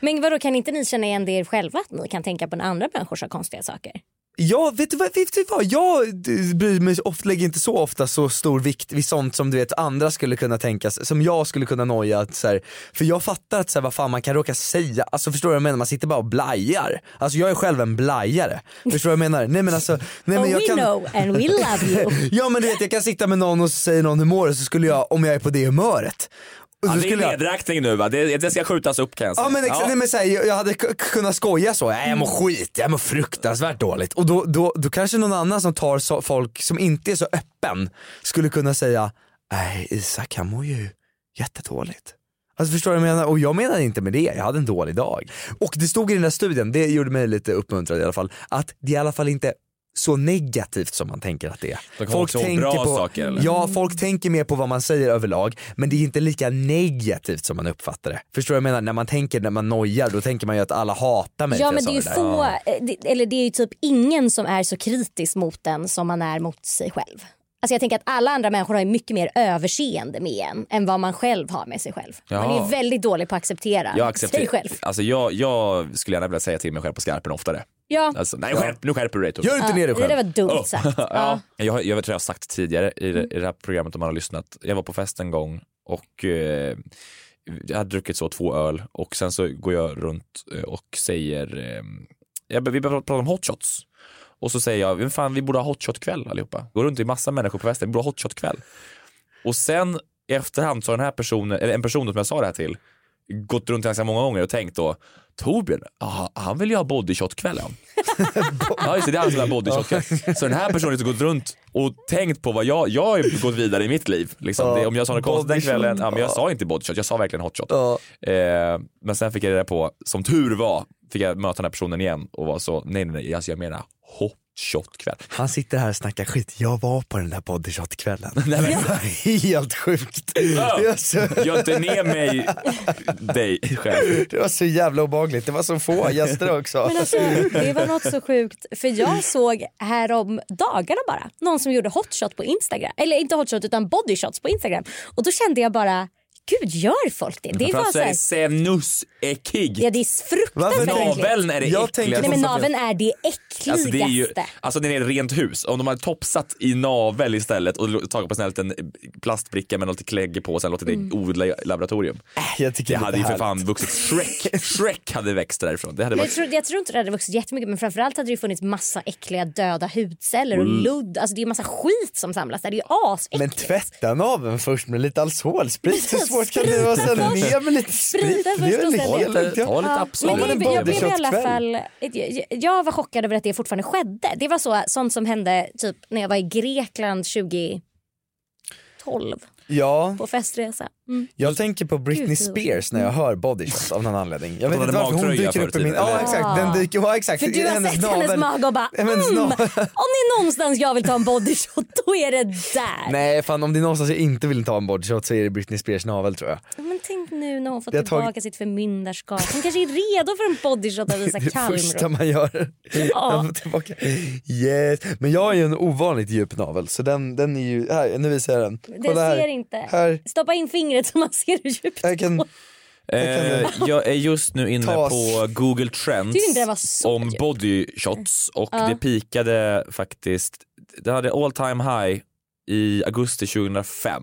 Men vadå, kan inte ni känna igen det er själva att ni kan tänka på när andra människor sa konstiga saker?
Ja, vet du vad, vet du vad? jag d- bryr mig ofta, lägger inte så ofta så stor vikt vid sånt som du vet andra skulle kunna tänkas, som jag skulle kunna noja att så här, för jag fattar att så här, vad fan man kan råka säga, alltså förstår du vad jag menar, man sitter bara och blajar. Alltså jag är själv en blajare, förstår du vad jag menar? Nej men alltså, nej
Oh,
men jag
we
kan...
know and we love you.
ja men du vet jag kan sitta med någon och säga någon hur mår du, så skulle jag, om jag är på det humöret, och
Ja,
då
det är
skulle jag-
nedräkning nu va? Det, det ska skjutas upp kan jag säga.
Ja men exakt,
Ja.
nej, men så här, jag jag hade k- kunnat skoja så, nej jag mår skit, jag mår fruktansvärt dåligt. Och då, då, då kanske någon annan som tar så, folk som inte är så öppen skulle kunna säga, nej Isak han mår ju jättedåligt. Alltså förstår du vad jag menar? Och jag menar inte med det, jag hade en dålig dag. Och det stod i den där studien, det gjorde mig lite uppmuntrad i alla fall, att det i alla fall inte är så negativt som man tänker att det är.
De kan också må bra saker, eller?
Ja, folk tänker mer på vad man säger överlag men det är inte lika negativt som man uppfattar det. Förstår du vad jag menar? När man tänker, när man nojar, då tänker man ju att alla hatar mig
Ja
för
men
jag
det är ju
sa
få,
där.
eh, det- eller det är ju typ ingen som är så kritisk mot den som man är mot sig själv. Alltså jag tänker att alla andra människor har ju mycket mer överseende med en än vad man själv har med sig själv. Man är
Ja.
ju väldigt dålig på att acceptera
Jag,
sig
accepterar,
själv.
alltså jag, jag skulle gärna vilja säga till mig själv på skarpen oftare.
Ja.
Alltså, nej, skärp, nu skärper du dig Tobbe.
Gör inte ner dig
det
själv.
där var dumt sagt.
Oh.
Mm.
ja. jag, jag vet vad jag har sagt tidigare i det, i det här programmet om man har lyssnat. Jag var på fest en gång och eh, jag hade druckit så två öl och sen så går jag runt eh, och säger, eh, jag, vi börjar prata om hotshots. Och så säger jag, "Men fan vi borde ha hotshotkväll allihopa. Går runt i massa människor på festen, vi borde ha hotshotkväll. Och sen i efterhand så har den här personen, eller en person som jag sa det här till, gått runt ganska många gånger och tänkt då, Torbjörn, aha, han vill ju ha bodyshot-kvällen. ja just det, det är han som vill ha bodyshot-kvällen. Så den här personen har liksom gått runt och tänkt på vad jag, jag har ju gått vidare i mitt liv. Liksom. Det, om jag sa något konstigt den
bodyshot,
kvällen, ja, men jag
ja.
sa inte bodyshot, jag sa verkligen hotshot.
Ja.
Eh, men sen fick jag reda på, som tur var, fick jag möta den här personen igen och var så, nej nej nej, alltså jag menar hotshotkväll.
Han sitter här och snackar skit, jag var på den där bodyshot-kvällen. Helt sjukt. Det var så-
Gör inte ner mig, dig själv.
Det var så jävla obehagligt, det var så få gäster också.
Men alltså, det var något så sjukt. För jag såg härom dagarna bara någon som gjorde hotshot på Instagram. Eller inte hotshot utan bodyshots på Instagram. Och då kände jag bara, gud gör folk det? Det är bara
Framförallt
så
så är det
här,
senus äckig.
ja det är
Varför
fruktansvärt
tänker-
äckligt.
Naveln är det
Jag tänker-
äckligaste.
Nej men
Alltså,
naveln är det äckligaste.
Alltså det är ju, alltså den är rent hus. Om de hade topsat i navel istället och tagit på en sån här liten eh, plastbricka med något klägg på och sen låtit det
Mm.
odla i laboratorium.
Äh.
Jag tycker
Det
inte
hade ju för
här-
fan vuxit Shrek. Shrek hade växt därifrån. Det hade
Men jag,
varit
tror, jag tror inte det hade vuxit jättemycket men framförallt hade det ju funnits massa äckliga döda hudceller och ludd. Alltså det är ju massa skit som samlas där. Det är ju asäckligt.
Men tvätta naveln först med lite alsolsprit, hur
Men alltså,
svårt kan det vara? Sen
sprita
ner med lite sprit,
Sprita
det är väl
först och sen ner.
helt lugnt, ja.
Ta lite
Ja,
Absolut.
men det,
Ja,
jag
men en
blev i alla
bodyshot-kväll.
fall, jag, jag var chockad över att det fortfarande skedde. Det var så, sånt som hände typ när jag var i Grekland 2012
Ja,
på festresa. Mm.
jag tänker på Britney
Gud, det var-
Spears när jag hör body shots av någon anledning. Jag vet
hon
inte
hade
varför hon
magtröja
dyker
förr
upp i
i
min...
tiden,
Ja
eller?
exakt, den dyker... Ja exakt.
Ah. För du har sett hennes mage och bara
Hennes
mm, om
navel.
det är någonstans jag vill ta en bodyshot då är det där.
Nej fan om det är någonstans jag inte vill ta en body shot så är det Britney Spears navel tror jag.
Men tänk nu när hon fått
Det har tagit-
tillbaka sitt förmyndarskap. Hon kanske är redo för en bodyshot av Isak
Det är det första
Kalmroth.
man gör.
Ja.
Man får tillbaka. Yes. Men jag har ju en ovanligt djup navel så den, den är ju, här, nu visar jag den.
Det
här.
ser inte.
Här.
Stoppa in fingret så man ser hur djupt
Jag kan...
Eh, jag är just nu inne
Tas.
på Google Trends
Tyckte inte det var så
om
djupt.
body shots och det pikade faktiskt, det hade all time high i augusti 2005.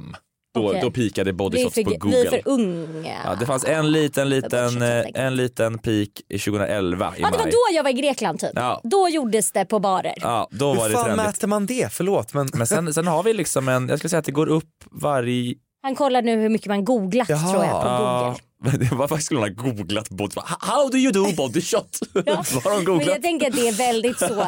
Då,
Okej.
då pikade body
Vi är
shots
för,
på
vi är
Google.
för unga.
Ja, det fanns en liten, liten, eh,
shots, helt
en liten peak i 2011 i
Ja, det var
maj.
då jag var i Grekland typ.
Ja.
Då gjordes det på barer.
Ja, då var
Hur
det
fan
trendigt.
mäter man det? Förlåt men...
Men sen, sen har vi liksom en, jag skulle säga att det går upp varje...
Han kollar nu hur mycket man googlat
Jaha.
tror jag på
Ja,
Google.
men Varför skulle hon ha googlat body How do you do body shot? Vad har hon
Men jag
googlat?
tänker att det är väldigt så.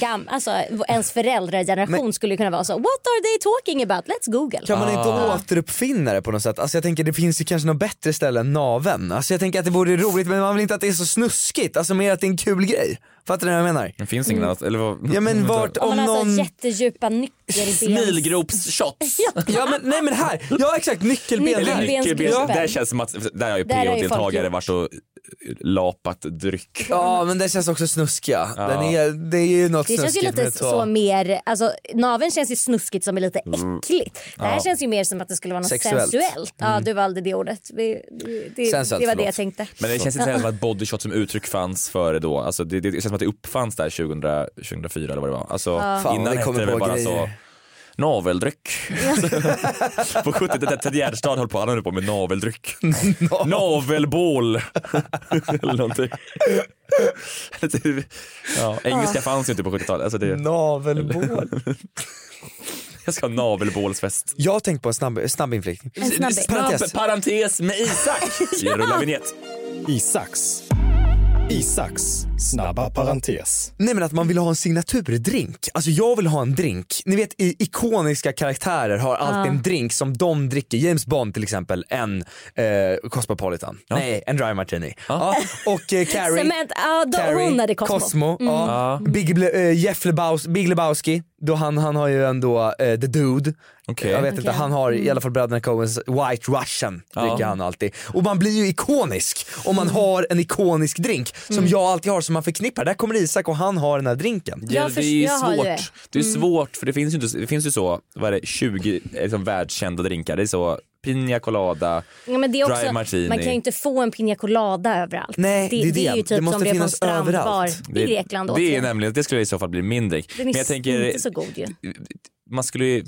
gam, alltså, ens föräldrageneration
Men-
skulle kunna vara så. What are they talking about? Let's google.
Kan man inte återuppfinna det på något sätt? Alltså jag tänker det finns ju kanske något bättre ställe än naven. Alltså jag tänker att det vore roligt men man vill inte att det är så snuskigt, alltså mer att det är en kul grej. Fattar ni vad jag menar?
Det finns
Mm.
ingen annat, eller vad?
Ja men vart
Om
om
man har
någon...
någon... jättedjupa nyckelbens...
Smilgropsshots.
Ja men nej men här, ja exakt nyckelben
Eller
här.
nyckelben.
Ja.
Där känns som att, där har ju
Där har ju folk
PH-deltagare
gjort.
varit och lapat dryck.
Ja men det känns också snuskiga.
Ja.
Den är, det är ju något
Det känns ju
snuskigt med
lite
att
så,
ta-
mer, alltså naveln känns ju snuskigt som är lite äckligt. Det här
Ja.
känns ju mer som att det skulle vara något
Mm. Sexuellt. Mm.
sensuellt. Ja du valde det ordet. Vi- Det, det,
Sensuellt,
det var det
förlåt.
jag tänkte.
Men det känns
Ja.
inte heller som att bodyshots som uttryck fanns före då. Alltså det, det, det känns som att det uppfanns där 2000, 2004 eller vad det var. Alltså
Ja. Fan,
innan
vi kommer
hette det väl
på
bara så
grejer.
naveldryck. på 70-talet, Ted Gärdestad höll på, han höll på med naveldryck. Navelbål. eller någonting. ja, engelska
Ah.
fanns ju inte på 70-talet. Alltså det,
Navelbål.
jag ska ha navelbålsfest.
Jag har tänkt på en snabb, snabb inflikning.
En snabbis.
Parentes.
Snabb parentes med Isak. Vi rullar vignett.
Isaks. Isaks snabba parentes.
Nej men att man vill ha en signaturdrink. Alltså jag vill ha en drink. Ni vet i, ikoniska karaktärer har alltid
Ja.
en drink som de dricker. James Bond till exempel en eh, Cosmopolitan. Nej, en dry martini. Ja. Och eh, Carrie.
Cement, ja, då- hon hade Cosmo. Mm.
ja. Big, Ble, eh, Jeff Lebaus, Big Lebowski, då han, han har ju ändå eh, The Dude. Jag vet inte,
Okej.
han har i
Mm.
alla fall bröderna Coens White Russian
Ja.
dricker han alltid. Och man blir ju ikonisk om
Mm.
man har en ikonisk drink som
Mm.
jag alltid har som man förknippar. Där kommer Isak och han har den här drinken.
Ja, det är ju svårt. Det är
Mm.
svårt för det finns ju, inte, det finns ju så, vad är det, 20 liksom, världskända drinkar. Det är så Pina Colada,
Ja, men det är också,
Dry Martini.
Man kan ju inte få en pina colada överallt.
Nej, det är
det är
det.
ju
Det
typ
måste
som det är på en
finnas
strandbar i Grekland.
det,
åt
det är
jag.
nämligen, det skulle i så fall bli min drink.
Den
Men jag
är
tänker,
inte så god ju.
man skulle ju, det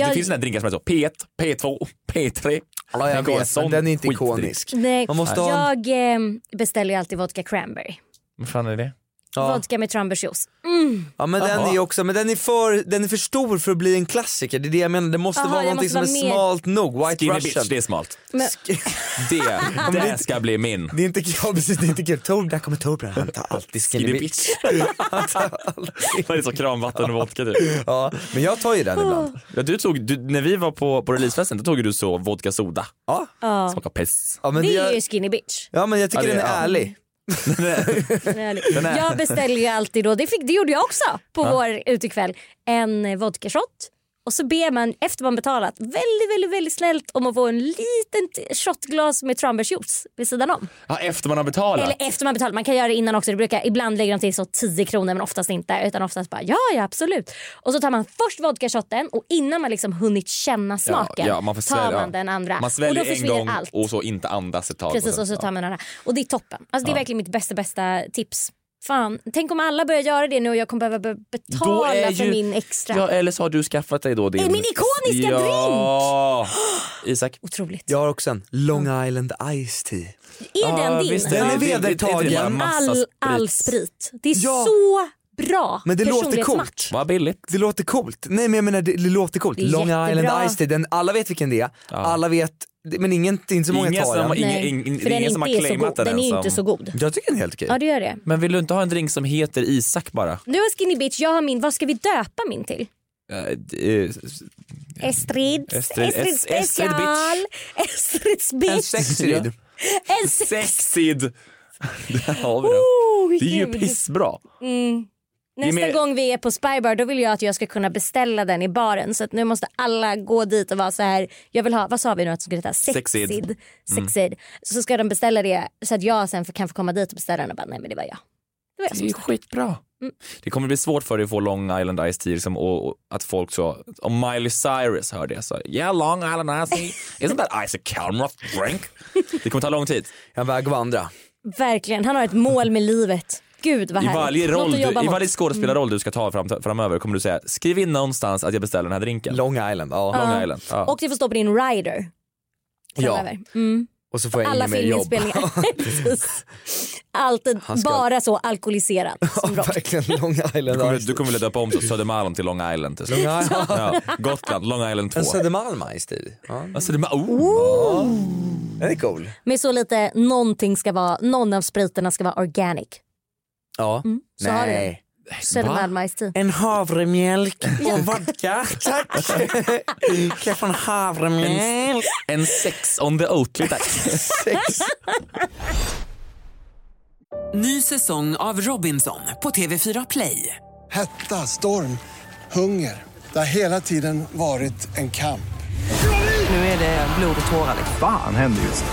Jag-
finns sådana här drinkar som är så P1, P2, P3.
Ja, jag
Tänk att ha
vet,
en sån
men den är inte
skitdrink.
ikonisk.
Nej,
Man måste ha en-
jag ehm, beställer ju alltid vodka cranberry.
Vad fan är det?
Vodka med tranbärsjuice. Mm.
Ja men den
Jaha.
är ju också, men den är, för, den är för stor för att bli en klassiker, det är det jag menar. Det måste
Jaha,
vara
det
någonting
måste
som
vara
är
mer-
smalt nog. White
Skinny
Russian.
bitch, det är smalt.
Men,
Det, det ska bli min.
Det är inte, ja, precis, det är inte kul. Torbjörn, där kommer Torbjörn, han tar alltid skinny bitch.
Det är så kranvatten och vodka typ.
Ja, men jag tar ju den
ibland.
Ja, du tog, du, när vi var på, på releasefesten då tog ju du så vodka soda.
Ja.
Ja.
Smakar piss.
Ja,
det är ju skinny bitch.
Ja men jag
Ja,
tycker
det-
den är
ja.
ärlig.
Den är ärlig.
Den är-
Jag beställer ju alltid då, det, fick, det gjorde jag också på
Ja.
vår utekväll, en eh, vodkashot. Och så ber man efter man betalat väldigt, väldigt, väldigt snällt om att få en liten t- shotglas med tranbärsjuice vid sidan om.
Ja, efter man har betalat.
Eller efter man betalat, man kan göra det innan också. Det brukar, ibland lägger de till så 10 kronor men oftast inte. Utan oftast bara ja, ja absolut. Och så tar man först vodkashotten och innan man liksom hunnit känna smaken
Ja, ja, man får
tar
svälja,
man
ja.
den andra.
Man
och då
sväljer en
försvinner
gång
allt.
och så inte andas ett tag.
Precis,
sen-
och så tar
ja.
man den här. Och det är toppen. Alltså, det är
Ja.
verkligen mitt bästa, bästa tips. Fan, tänk om alla börjar göra det nu och jag kommer behöva be-
Då
betala
är
för
ju-
min extra.
Ja, eller så har du skaffat dig då din...
Min ikoniska
ja.
drink!
Isak?
Otroligt.
Jag har också en Long
Mm.
Island Ice Tea.
Är den din?
Den är
Det är typ bara
vedertagen.
massa
all,
sprit.
all sprit. Det är
Ja.
så bra
Men det låter
personlighetsmatch.
coolt.
Vad billigt.
Det låter coolt. Nej men jag menar det, det låter coolt.
Det är
Long
jättebra.
Island Ice Tea, den, alla vet vilken det är. Alla vet, men ingen, det är inte så många
Ingen
tar
som
den.
har- ingen- Nej, ingen-
för den ingen som inte har är så claimat god. den Den är än ju inte som- så god.
Jag tycker den är helt okej.
Ja, det gör det.
Men vill du inte ha en drink som heter Isak bara?
Du har skinny bitch, jag har min. Vad ska vi döpa min till?
Eh, d- eh,
Estrid.
Estrid-
Estrid
Es- Estrid
special. Estrids bitch.
En sexrid.
En sex.
Sid! Där har vi den.
Oh,
Det är ju
gud.
pissbra.
Mm.
Det är
Nästa
mer-
gång vi är på Spybar då vill jag att jag ska kunna beställa den i baren så att nu måste alla gå dit och vara så här. Jag vill ha, vad sa vi nu att det skulle heta?
Sexid.
Sexid.
Mm.
Sexid. Så ska de beställa det så att jag sen kan få komma dit och beställa den och bara nej men det var jag. Det var jag Mm.
Det är ju
som
skitbra. Det kommer bli svårt för dig att få Long Island Ice Tea liksom, och, och att folk så, om Miley Cyrus hör det så, yeah Long Island Ice Tea, isn't that ice a camera drink? Det kommer ta lång tid.
Jag väg att vandra.
Verkligen, han har ett mål med livet. Gud vad
I
härligt.
varje, roll
Något
du,
att jobba
I
mot. Mm.
varje skådespelarroll du ska ta fram, framöver kommer du säga skriv in någonstans att jag beställer den här drinken.
Long Island. Ja.
Ja.
Long Island. Ja.
Och det får stå på din rider.
Ja.
framöver. Mm.
Och så får jag
Alla
inget mer jobb.
filminspelningar. Precis. Alltid
Han ska-
bara så alkoholiserad. Som rock.
Verkligen Long
Du
Island
kommer,
Ice
du kommer vilja döpa om så Södermalm till Long Island till slut.
Long Island.
Ja, Gotland, Long Island 2.
En Södermalm Ice Tea. Ja.
Alltså, det, oh.
Den är cool.
Med så lite någonting ska vara, någon av spriterna ska vara organic.
Ja.
så har du den.
Nej.
Södermalm Ice Tea.
En havremjölk och vodka, tack. Kan jag få en havremjölk?
En sex on the Oatly tack.
Ny säsong av Robinson på TV4 Play.
Hetta, storm, hunger. Det har hela tiden varit en kamp.
Nu är det blod och tårar. liksom.
Fan händer just nu.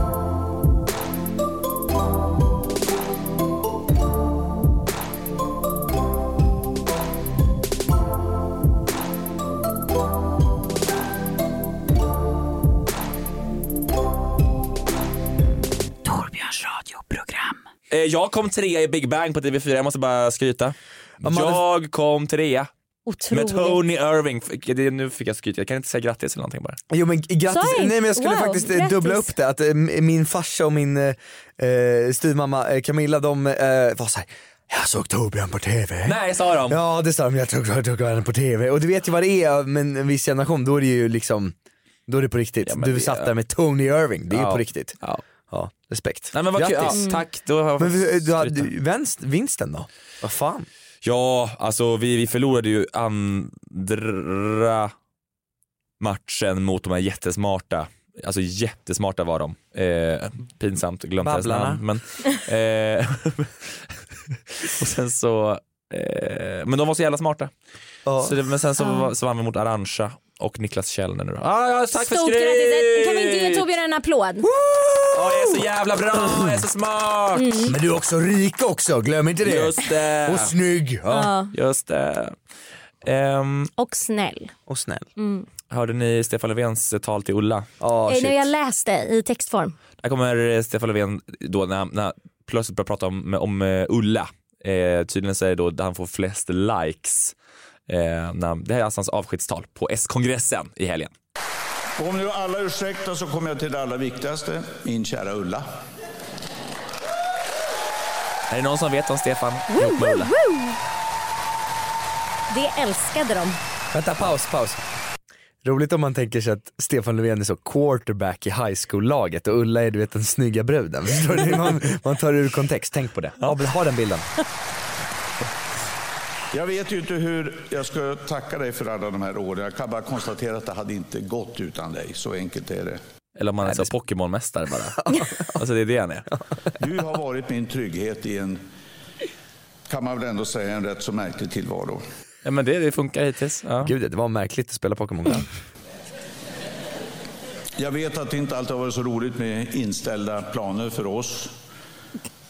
Torbjörns radioprogram. Eh, Jag kom trea i Big Bang på TV4, jag måste bara skryta. Jag kom trea. Med Tony Irving. Fick- det- Nu fick jag skryta, jag kan inte säga grattis eller någonting bara.
Jo men grattis,
Sorry.
nej men jag skulle
Wow,
faktiskt eh,
grattis.
dubbla upp det att eh, m- min farsa och min eh, eh, styvmamma eh, Camilla de eh, var såhär jag såg Torbjörn på TV.
Nej sa de.
Ja det sa de, jag såg Torbjörn på TV. Och du vet ju vad det är med en viss generation, då är det ju liksom, då är det på riktigt. du satt där med Tony Irving, det är
Ja.
på riktigt. Ja, respekt.
Nej, men vad kul.
Grattis.
Ja, tack, då har jag
men
fått
eh, du hade
skryta.
vänst, vinsten då? Vad fan?
Ja, alltså vi, vi förlorade ju andra matchen mot de här jättesmarta. Alltså jättesmarta var de. Eh, pinsamt, glömt deras
Babblarna.
namn. Men, eh, och sen så, eh, men de var så jävla smarta. Så det, men sen så,
Ja.
var- så vann vi mot Arantxa och Niklas Källner nu då. Ah, ja, tack för
Stort
skryt!
grattis! Eh, Kan vi inte ge Torbjörn Mm. en applåd?
Ja, jag är så jävla bra, jag är så smart!
Mm.
Men du är också rik också, glöm inte det.
Just det.
Och snygg.
Ja.
Just det. Ehm,
Och snäll.
och snäll.
Mm.
Hörde ni Stefan Löfvens tal till Ulla?
Ja,
Eh, när jag läste i textform.
Här kommer eh, Stefan Löfven då när, när plötsligt börjar prata om, om eh, Ulla. Eh, tydligen så är det då där han får flest likes. Eh, när, det här är alltså hans avskedstal på S-kongressen i helgen.
Och om nu alla ursäktar så kommer jag till det allra viktigaste, min kära Ulla.
Är det någon som vet om Stefan ihop med Ulla?
Det älskade de.
Vänta, paus, paus. Roligt om man tänker sig att Stefan Löfven är så quarterback i high school-laget och Ulla är du vet den snygga bruden. Förstår du? Man, man tar ur kontext, tänk på det. Ja, men ha den bilden.
Jag vet ju inte hur jag ska tacka dig för alla de här åren. Jag kan bara konstatera att det hade inte gått utan dig. Så enkelt är det.
Eller om han är så Pokémonmästare bara. alltså det är det han är.
Du har varit min trygghet i en, kan man väl ändå säga, en rätt så märklig tillvaro.
Ja men det, det funkar hittills. Ja.
Gud, det var märkligt att spela Pokémon.
Mm.
där.
Jag vet att det inte alltid har varit så roligt med inställda planer för oss.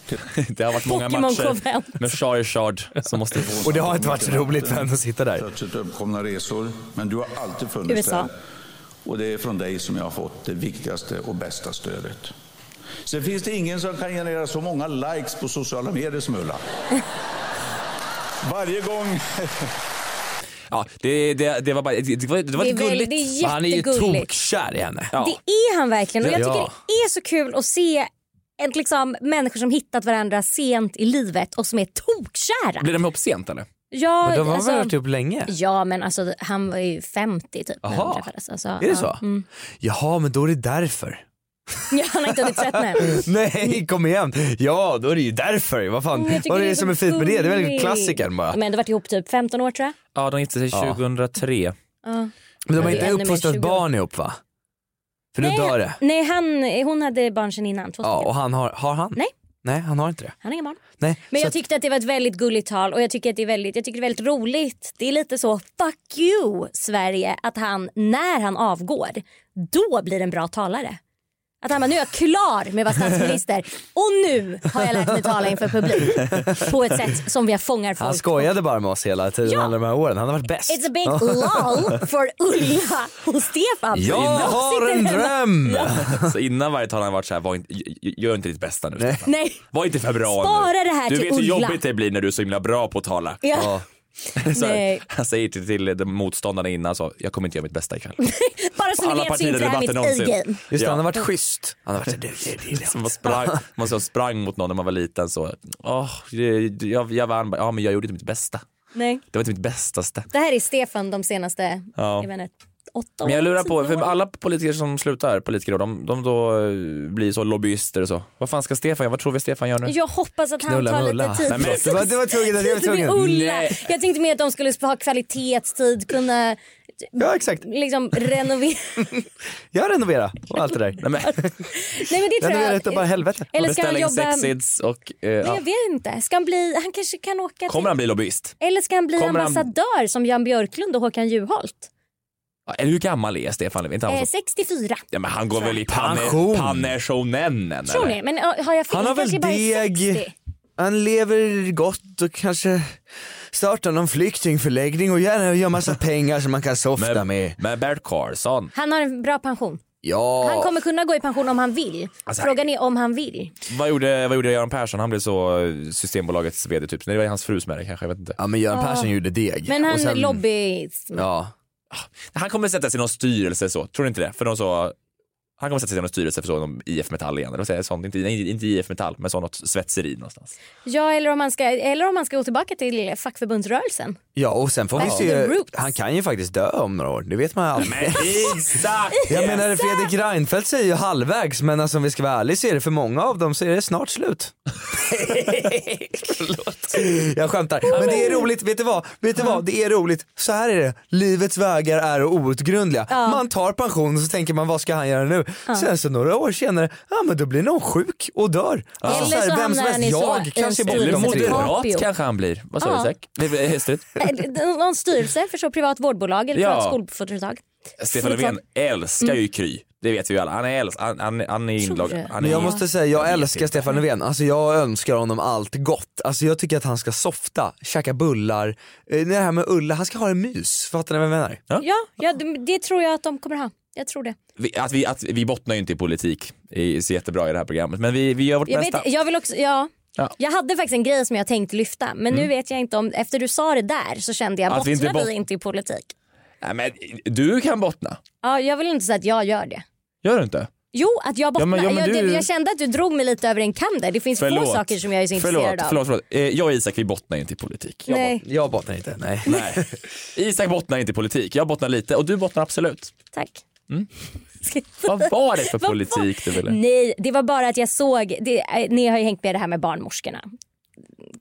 Det har varit många matcher med Charizard som måste
Och att sitta där. Plötsligt uppkomna resor, men du har alltid funnits
USA.
där. Och det är från dig som jag har fått det viktigaste och bästa stödet. Sen finns det ingen som kan generera så många likes på sociala medier som Ulla. Varje gång...
Ja, det, det, det var bara, det, det var, det var
Det är
lite
väl-
gulligt.
det är Han är ju jättegulligt.
i henne.
Det är han verkligen och jag tycker
Ja.
det är så kul att se en, liksom, människor som hittat varandra sent i livet och som är tokkära.
Blev de ihop sent eller?
Ja,
Men de har
alltså,
typ-
varit ihop länge?
Ja men alltså han var ju 50 typ när
Aha.
de träffades. Alltså,
Är det
ja,
så?
Mm.
Jaha, men då är det därför.
Ja, han har inte hunnit tröttna
Mm.
än.
Nej, kom igen. Ja, då är det ju därför. Vad fan,
Mm, jag tycker
vad är
det
det
är
som
så
är fint med det? Det är väl
gulligt.
klassikern bara.
De har ändå varit ihop typ 15 år tror jag.
Ja, de gifte sig
Ja.
2003.
Ja.
Men de har
Det är
inte
ännu mer
uppfostrat
20 år.
barn ihop va? För då
Nej,
dör det.
Nej han, hon hade barn sedan innan. Två
Ja,
stycken.
och han har, har han?
Nej.
Nej, han har inte det.
Han har inga barn.
Nej.
Men
så
jag tyckte att det var ett väldigt gulligt tal och jag tycker att det är väldigt, jag tycker det är väldigt roligt. Det är lite så fuck you Sverige att han när han avgår då blir en bra talare. Att han bara, nu är jag klar med att vara statsminister och nu har jag lärt mig tala inför publik på ett sätt som jag fångar folk.
Han skojade bara med oss hela tiden
Ja.
alla de här åren. Han har varit bäst.
It's a big lol for Ulla och Stefan.
Jag har en dröm!
Så innan varje tal har han varit så här, var inte, g- g- gör inte ditt bästa nu. Stefan.
Nej.
Var inte för bra
Spara
nu.
det här
Du
till
vet hur
Ulla.
jobbigt det blir när du är så himla bra på att tala.
Ja.
Så
Nej.
här, han säger till, till de motståndarna innan så, jag kommer inte göra mitt bästa ikväll.
Bara så ni vet så inte det här är mitt A-game.
schysst.
Han har varit, det, det, det. Man, sprang, man så sprang mot någon när man var liten så, åh, det- det- jag, jag vann, ja men jag gjorde inte mitt bästa.
Nej.
Det var inte mitt bästaste.
Det här är Stefan de senaste
Ja.
jag menar, åtta
Men jag
åren,
lurar
tio
på, för
åren.
alla politiker som slutar, politiker då, de, de då eh, blir så lobbyister och så. Vad fan ska Stefan göra? Vad tror vi Stefan gör nu?
Jag hoppas att han
Knulla
tar
med
lite
Ulla.
tid
Nej, men-
för
Det var-
det var tvungen, det var
tid med
tvungen.
Ulla.
Nej.
Jag tänkte mer att de skulle ha kvalitetstid, kunna
Ja exakt.
liksom renovera.
Jag renoverar och allt det där. Nej, men.
Nej men det tror
Renovera
jag.
ett och bara helvete.
Eller ska han
Beställning
jobba...
sexsids och... Eh,
Nej,
ja.
jag vet inte. Ska han bli... Han kanske kan åka
Kommer
till...
han bli lobbyist?
Eller ska han bli
Kommer han-
ambassadör som Jan Björklund och Håkan Juholt?
Ja, Eller hur gammal är Stefan Löfven? Inte han
Eh,
som-
64.
Ja, men han går väl i
Pension.
pension. pensionen?
Tror
eller?
ni? Men ja, har jag fel?
Han har
Det kanske
väl
bara är
deg,
60.
han lever gott och kanske startar någon flyktingförläggning och gärna gör massa pengar som man kan softa med.
Men Bert Karlsson.
Han har en bra pension.
Ja.
Han kommer kunna gå i pension om han vill.
Alltså,
Frågan är om han vill.
Vad gjorde, vad gjorde Göran Persson? Han blev så eh, Systembolagets vd typ. Nej, det var ju hans frus med det kanske, jag vet inte.
Ja men Göran
Ja. Persson
gjorde deg.
Men han lobbyism.
Ja.
Han kommer sätta sig i någon styrelse så, tror du inte det? För de så, han kommer sätta sig i någon styrelse för så, någon IF Metall igen, eller så, sånt, inte, nej, inte IF Metall, men så något svetseri någonstans.
Ja, eller om man ska, eller om man ska gå tillbaka till fackförbundsrörelsen.
Ja och sen får vi
Back to
se,
the roots.
han kan ju faktiskt dö om några år, det vet man aldrig.
Exakt!
Jag menar Fredrik Reinfeldt säger ju halvvägs men alltså, om vi ska vara ärliga så är det för många av dem så är det snart slut. Jag skämtar. Men det är roligt, vet du vad? Vet du vad? Det är roligt. Så här är det, livets vägar är outgrundliga. Man tar pension och så tänker man vad ska han göra nu? Sen så några år senare, ja men då blir någon sjuk och dör. Alltså,
Eller
här,
så
vem
hamnar
som
han i
helst,
så-
jag
en
kanske borde
Eller
styrelse.
moderat
Capio.
kanske han blir. Vad sa
Ja.
du Zack? Det är hästligt.
Eller Någon styrelse för så privat vårdbolag eller
Ja.
privat skolföretag.
Stefan Löfven älskar
Mm.
ju Kry. Det vet vi ju alla. Han är, äls- han, han, han är inloggad. Han är
Men jag måste säga, jag älskar Stefan Löfven. Alltså jag önskar honom allt gott. Alltså jag tycker att han ska softa, käka bullar. Eh, Det här med Ulla, han ska ha en mys. Fattar ni vad jag menar?
Ja, ja, det- det tror jag att de kommer ha. Jag tror det.
Vi, att vi, att vi bottnar ju inte i politik i, så jättebra i det här programmet, men vi, vi gör vårt
Jag, vet,
bästa.
jag vill också, ja.
Ja. Mm.
Jag hade faktiskt en grej som jag tänkte lyfta men nu vet jag inte om, efter du sa det där så kände jag
Att vi inte
bottnar vi
bott-
inte i politik?
Nej, men, du kan bottna.
Ja, jag vill inte säga att jag gör det.
Gör du inte?
Jo, att jag
Ja,
bottnar.
men- ja, men
jag,
du-
det- jag kände att du drog mig lite över en kam där. Det finns få saker som jag är så intresserad
förlåt,
av.
Förlåt, förlåt. Eh, jag och Isak vi bottnar ju inte i politik. Jag
Nej.
bott-
Jag bottnar inte, nej.
Nej. Isak bottnar inte i politik, jag bottnar lite och du bottnar absolut.
Tack.
Mm. Vad var det för
Vad var- Mm.
politik du ville?
Nej, det var bara att jag såg, det, eh, ni har ju hängt med i det här med barnmorskorna.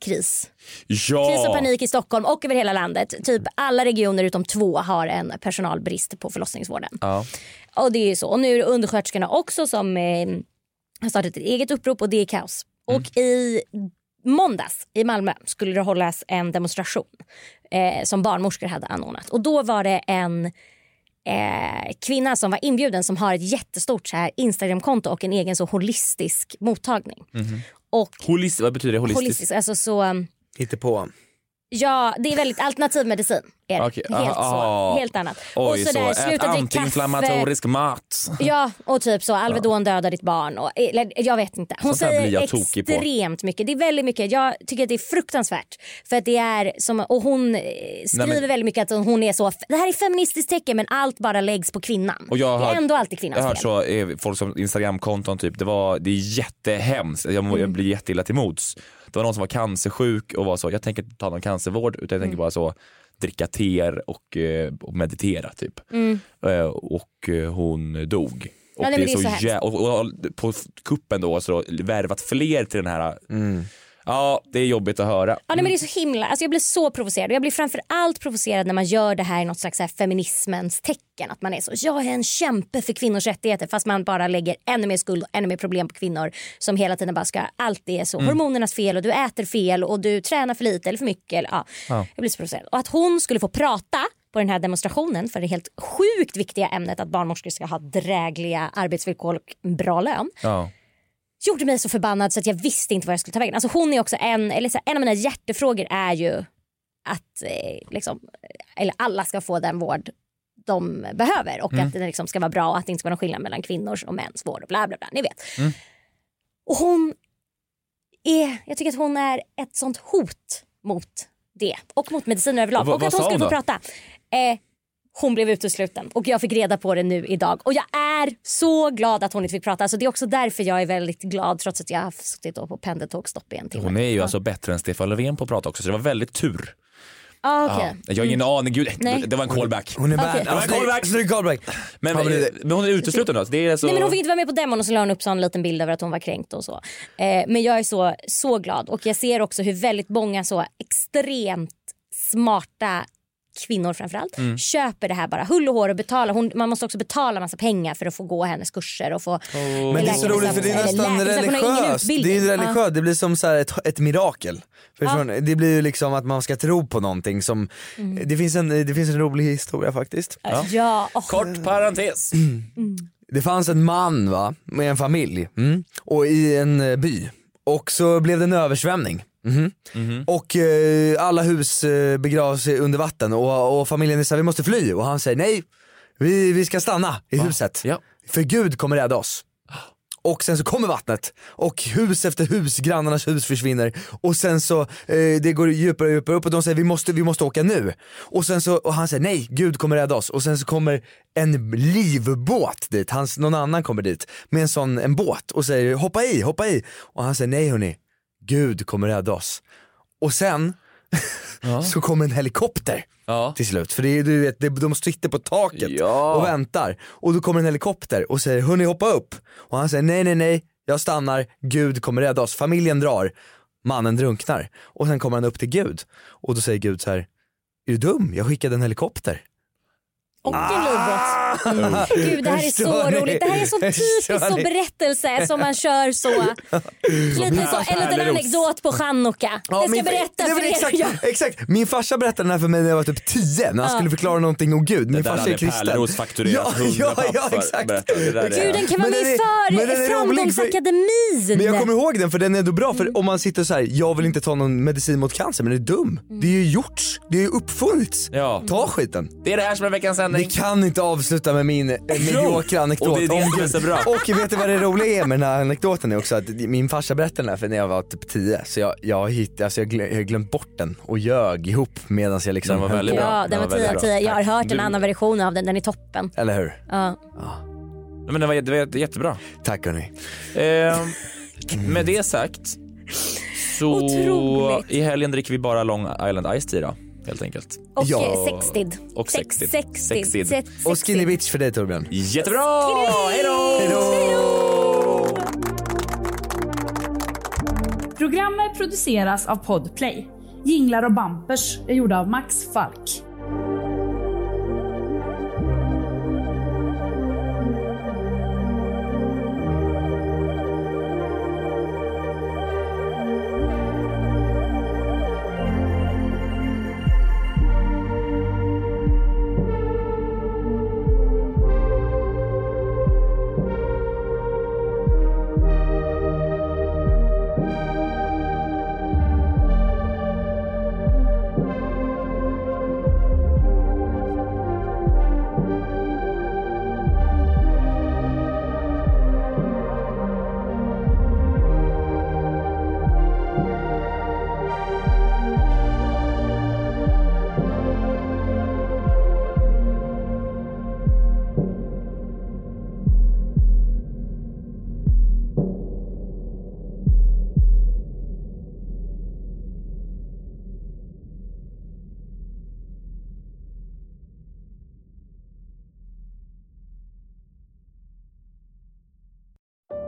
Kris. Kris och
Ja,
panik i Stockholm och över hela landet. Typ alla regioner utom två har en personalbrist på förlossningsvården.
ja.
Och det är ju så. Och nu är det undersköterskorna också som eh, har startat ett eget upprop och det är kaos.
Mm.
Och i måndags i Malmö skulle det hållas en demonstration eh, som barnmorskor hade anordnat. Och då var det en eh, kvinna som var inbjuden som har ett jättestort så här Instagramkonto och en egen så holistisk mottagning.
Mhm.
Och
Holis- vad betyder det? Holistiskt?
holistisk, alltså så... um,
Hitta på.
Ja, det är väldigt alternativ medicin. Är det.
Okej,
Helt,
aha.
så, helt annat.
Oj, så,
där,
ät antiinflammatorisk mat.
Ja, och typ så Alvedon dödar ditt barn. Och, eller, jag vet inte. Hon
Sånt här blir
säger
jag tokig på.
extremt mycket. Det är väldigt mycket. Jag tycker att det är fruktansvärt. För att det är som, och hon eh, skriver
Nej, men-
väldigt mycket att hon är så, det här är feministiskt tecken men allt bara läggs på kvinnan.
Och jag har
det
hört-
är ändå alltid kvinnans
Jag har hört
fel.
så, eh, folk som Instagramkonton typ, det, var, det är jättehemskt, jag, må-
Mm.
jag blir jätteilla till mods. Det var någon som var cancersjuk och var så, jag tänker inte ta någon cancervård utan
Mm.
jag tänker bara så dricka teer och, eh, och meditera typ.
Mm.
Eh, Och eh, hon dog. Och
Ja, nej, men det är så hemskt.
jä- och, och, och på kuppen då så har värvat fler till den här, ja det är jobbigt att höra.
Ja, nej, men det är så himla, alltså jag blir så provocerad och jag blir framför allt provocerad när man gör det här i något slags så här feminismens tecken. Att man är så, jag är en kämpe för kvinnors rättigheter fast man bara lägger ännu mer skuld och ännu mer problem på kvinnor som hela tiden bara ska, allt är så
Mm.
hormonernas fel och du äter fel och du tränar för lite eller för mycket. Eller, ja.
Ja.
Jag blir så provocerad. Och att hon skulle få prata på den här demonstrationen för det helt sjukt viktiga ämnet att barnmorskor ska ha drägliga arbetsvillkor och bra lön
Ja.
gjorde mig så förbannad så att jag visste inte vad jag skulle ta vägen. Alltså hon är också en, eller så här, en av mina hjärtefrågor är ju att eh, liksom, eller alla ska få den vård de behöver och
Mm.
att den liksom ska vara bra och att det inte ska vara någon skillnad mellan kvinnors och mäns vård och bla bla bla. Ni vet.
Mm.
Och hon är, jag tycker att hon är ett sånt hot mot det och mot mediciner överlag.
Och vad-
och att
vad
hon
sa
skulle få
hon då?
prata. Eh, hon blev utesluten och jag fick reda på det nu idag. Och jag är så glad att hon inte fick prata. Alltså, det är också därför jag är väldigt glad trots att jag har suttit då på pendeltågsstopp i en timme.
Hon är ju alltså bättre än Stefan Löfven på att prata också, så det var väldigt tur.
Ah, okej.
Ja, jag har ingen aning, gud,
Nej.
det var en callback.
Hon är
Okej.
Det var en callback.
Så det är callback.
Men, men hon är utesluten då? så Det är så...
Nej, men hon fick inte vara med på demon och så la hon upp så en liten bild över att hon var kränkt och så. Eh, men jag är så, så glad och jag ser också hur väldigt många så extremt smarta kvinnor framförallt
Mm.
köper det här bara hull och hår och betalar. Hon, man måste också betala massa pengar för att få gå hennes kurser och få
Men det är så roligt för det är
liksom,
nästan religiöst. Det är religiöst, det blir som så här ett, ett mirakel. Förstår ni? Det blir ju liksom att man ska tro på någonting som,
Mm.
det, finns en, det finns en rolig historia faktiskt.
Ja. Ja, åh.
Kort parentes.
Det fanns en man va, med en familj mm. och i en eh, by och så blev det en översvämning. Mhm. Och eh, alla hus eh, begravs under vatten och, och familjen säger vi måste fly och han säger nej, vi, vi ska stanna i huset. För Gud kommer rädda oss. Och sen så kommer vattnet och hus efter hus, grannarnas hus försvinner och sen så eh, det går djupare och djupare upp och de säger vi måste, vi måste åka nu. Och sen så, och han säger nej, Gud kommer rädda oss och sen så kommer en livbåt dit, hans, någon annan kommer dit med en sån, en båt och säger hoppa i, hoppa i. Och han säger nej hörni, Gud kommer rädda oss. Och sen så kommer en helikopter till slut. För det, är- du vet, det, de sitter på taket och väntar. Och då kommer en helikopter och säger hörni hoppa upp. Och han säger nej nej nej, jag stannar, Gud kommer rädda oss. Familjen drar, mannen drunknar. Och sen kommer han upp till Gud. Och då säger Gud så här, är du dum? Jag skickade en helikopter.
Och en livbåt.
Mm.
Gud, det här är så
Förstår ni?
roligt. Det här är så typiskt
Förstår
så
ni?
berättelse som man kör så. Lite så, en liten
Pärleros.
anekdot på chanukka.
Ja,
jag ska
min-
berätta
Nej, men
för er.
exakt,
hur jag-
exakt, min farsa berättade den här för mig när jag var typ 10 när han
Ja.
skulle förklara någonting om Gud. Min
där
farsa är
hade
kristen.
Pärleros fakturerat 100
ja,
papp
ja,
för,
exakt.
berättar jag. Det där är-
Guden kan vara
Men
med
den
i
är- men den
för
är rolig för-
Framgångsakademin.
Men jag kommer ihåg den för den är ändå bra för om man sitter så här, jag vill inte ta någon medicin mot cancer men det är dum. Det är ju gjorts, det är ju uppfunnits. Ta skiten.
Det är det här som är veckans sändning.
Vi kan inte avsluta med min eh, mediokra anekdot.
och det är det
om
som är
Gud.
så bra.
Och vet du vad det roliga är med den här anekdoten är också att min farsa berättade den här för när jag var typ 10 så jag, jag, hitt, alltså jag, glö, jag har glömt bort den och ljög ihop medan jag liksom
Den var
höll
väldigt
på.
Ja, den var 10 av 10. Jag har hört en annan version av den. Den är toppen.
Eller hur?
Ja.
Nej, men det, var, det var jättebra.
Tack hörni.
Ehm, med det sagt så
Otroligt.
i helgen dricker vi bara Long Island Ice Tea då, helt enkelt.
Och eh, sextid.
Och
Sex-
sextid.
sextid.
Sextid.
Sex-
Och skinny bitch för dig Torbjörn.
Jättebra!
Hej
Programmet produceras av Podplay. Jinglar och bampers är gjorda av Max Falk.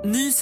Ny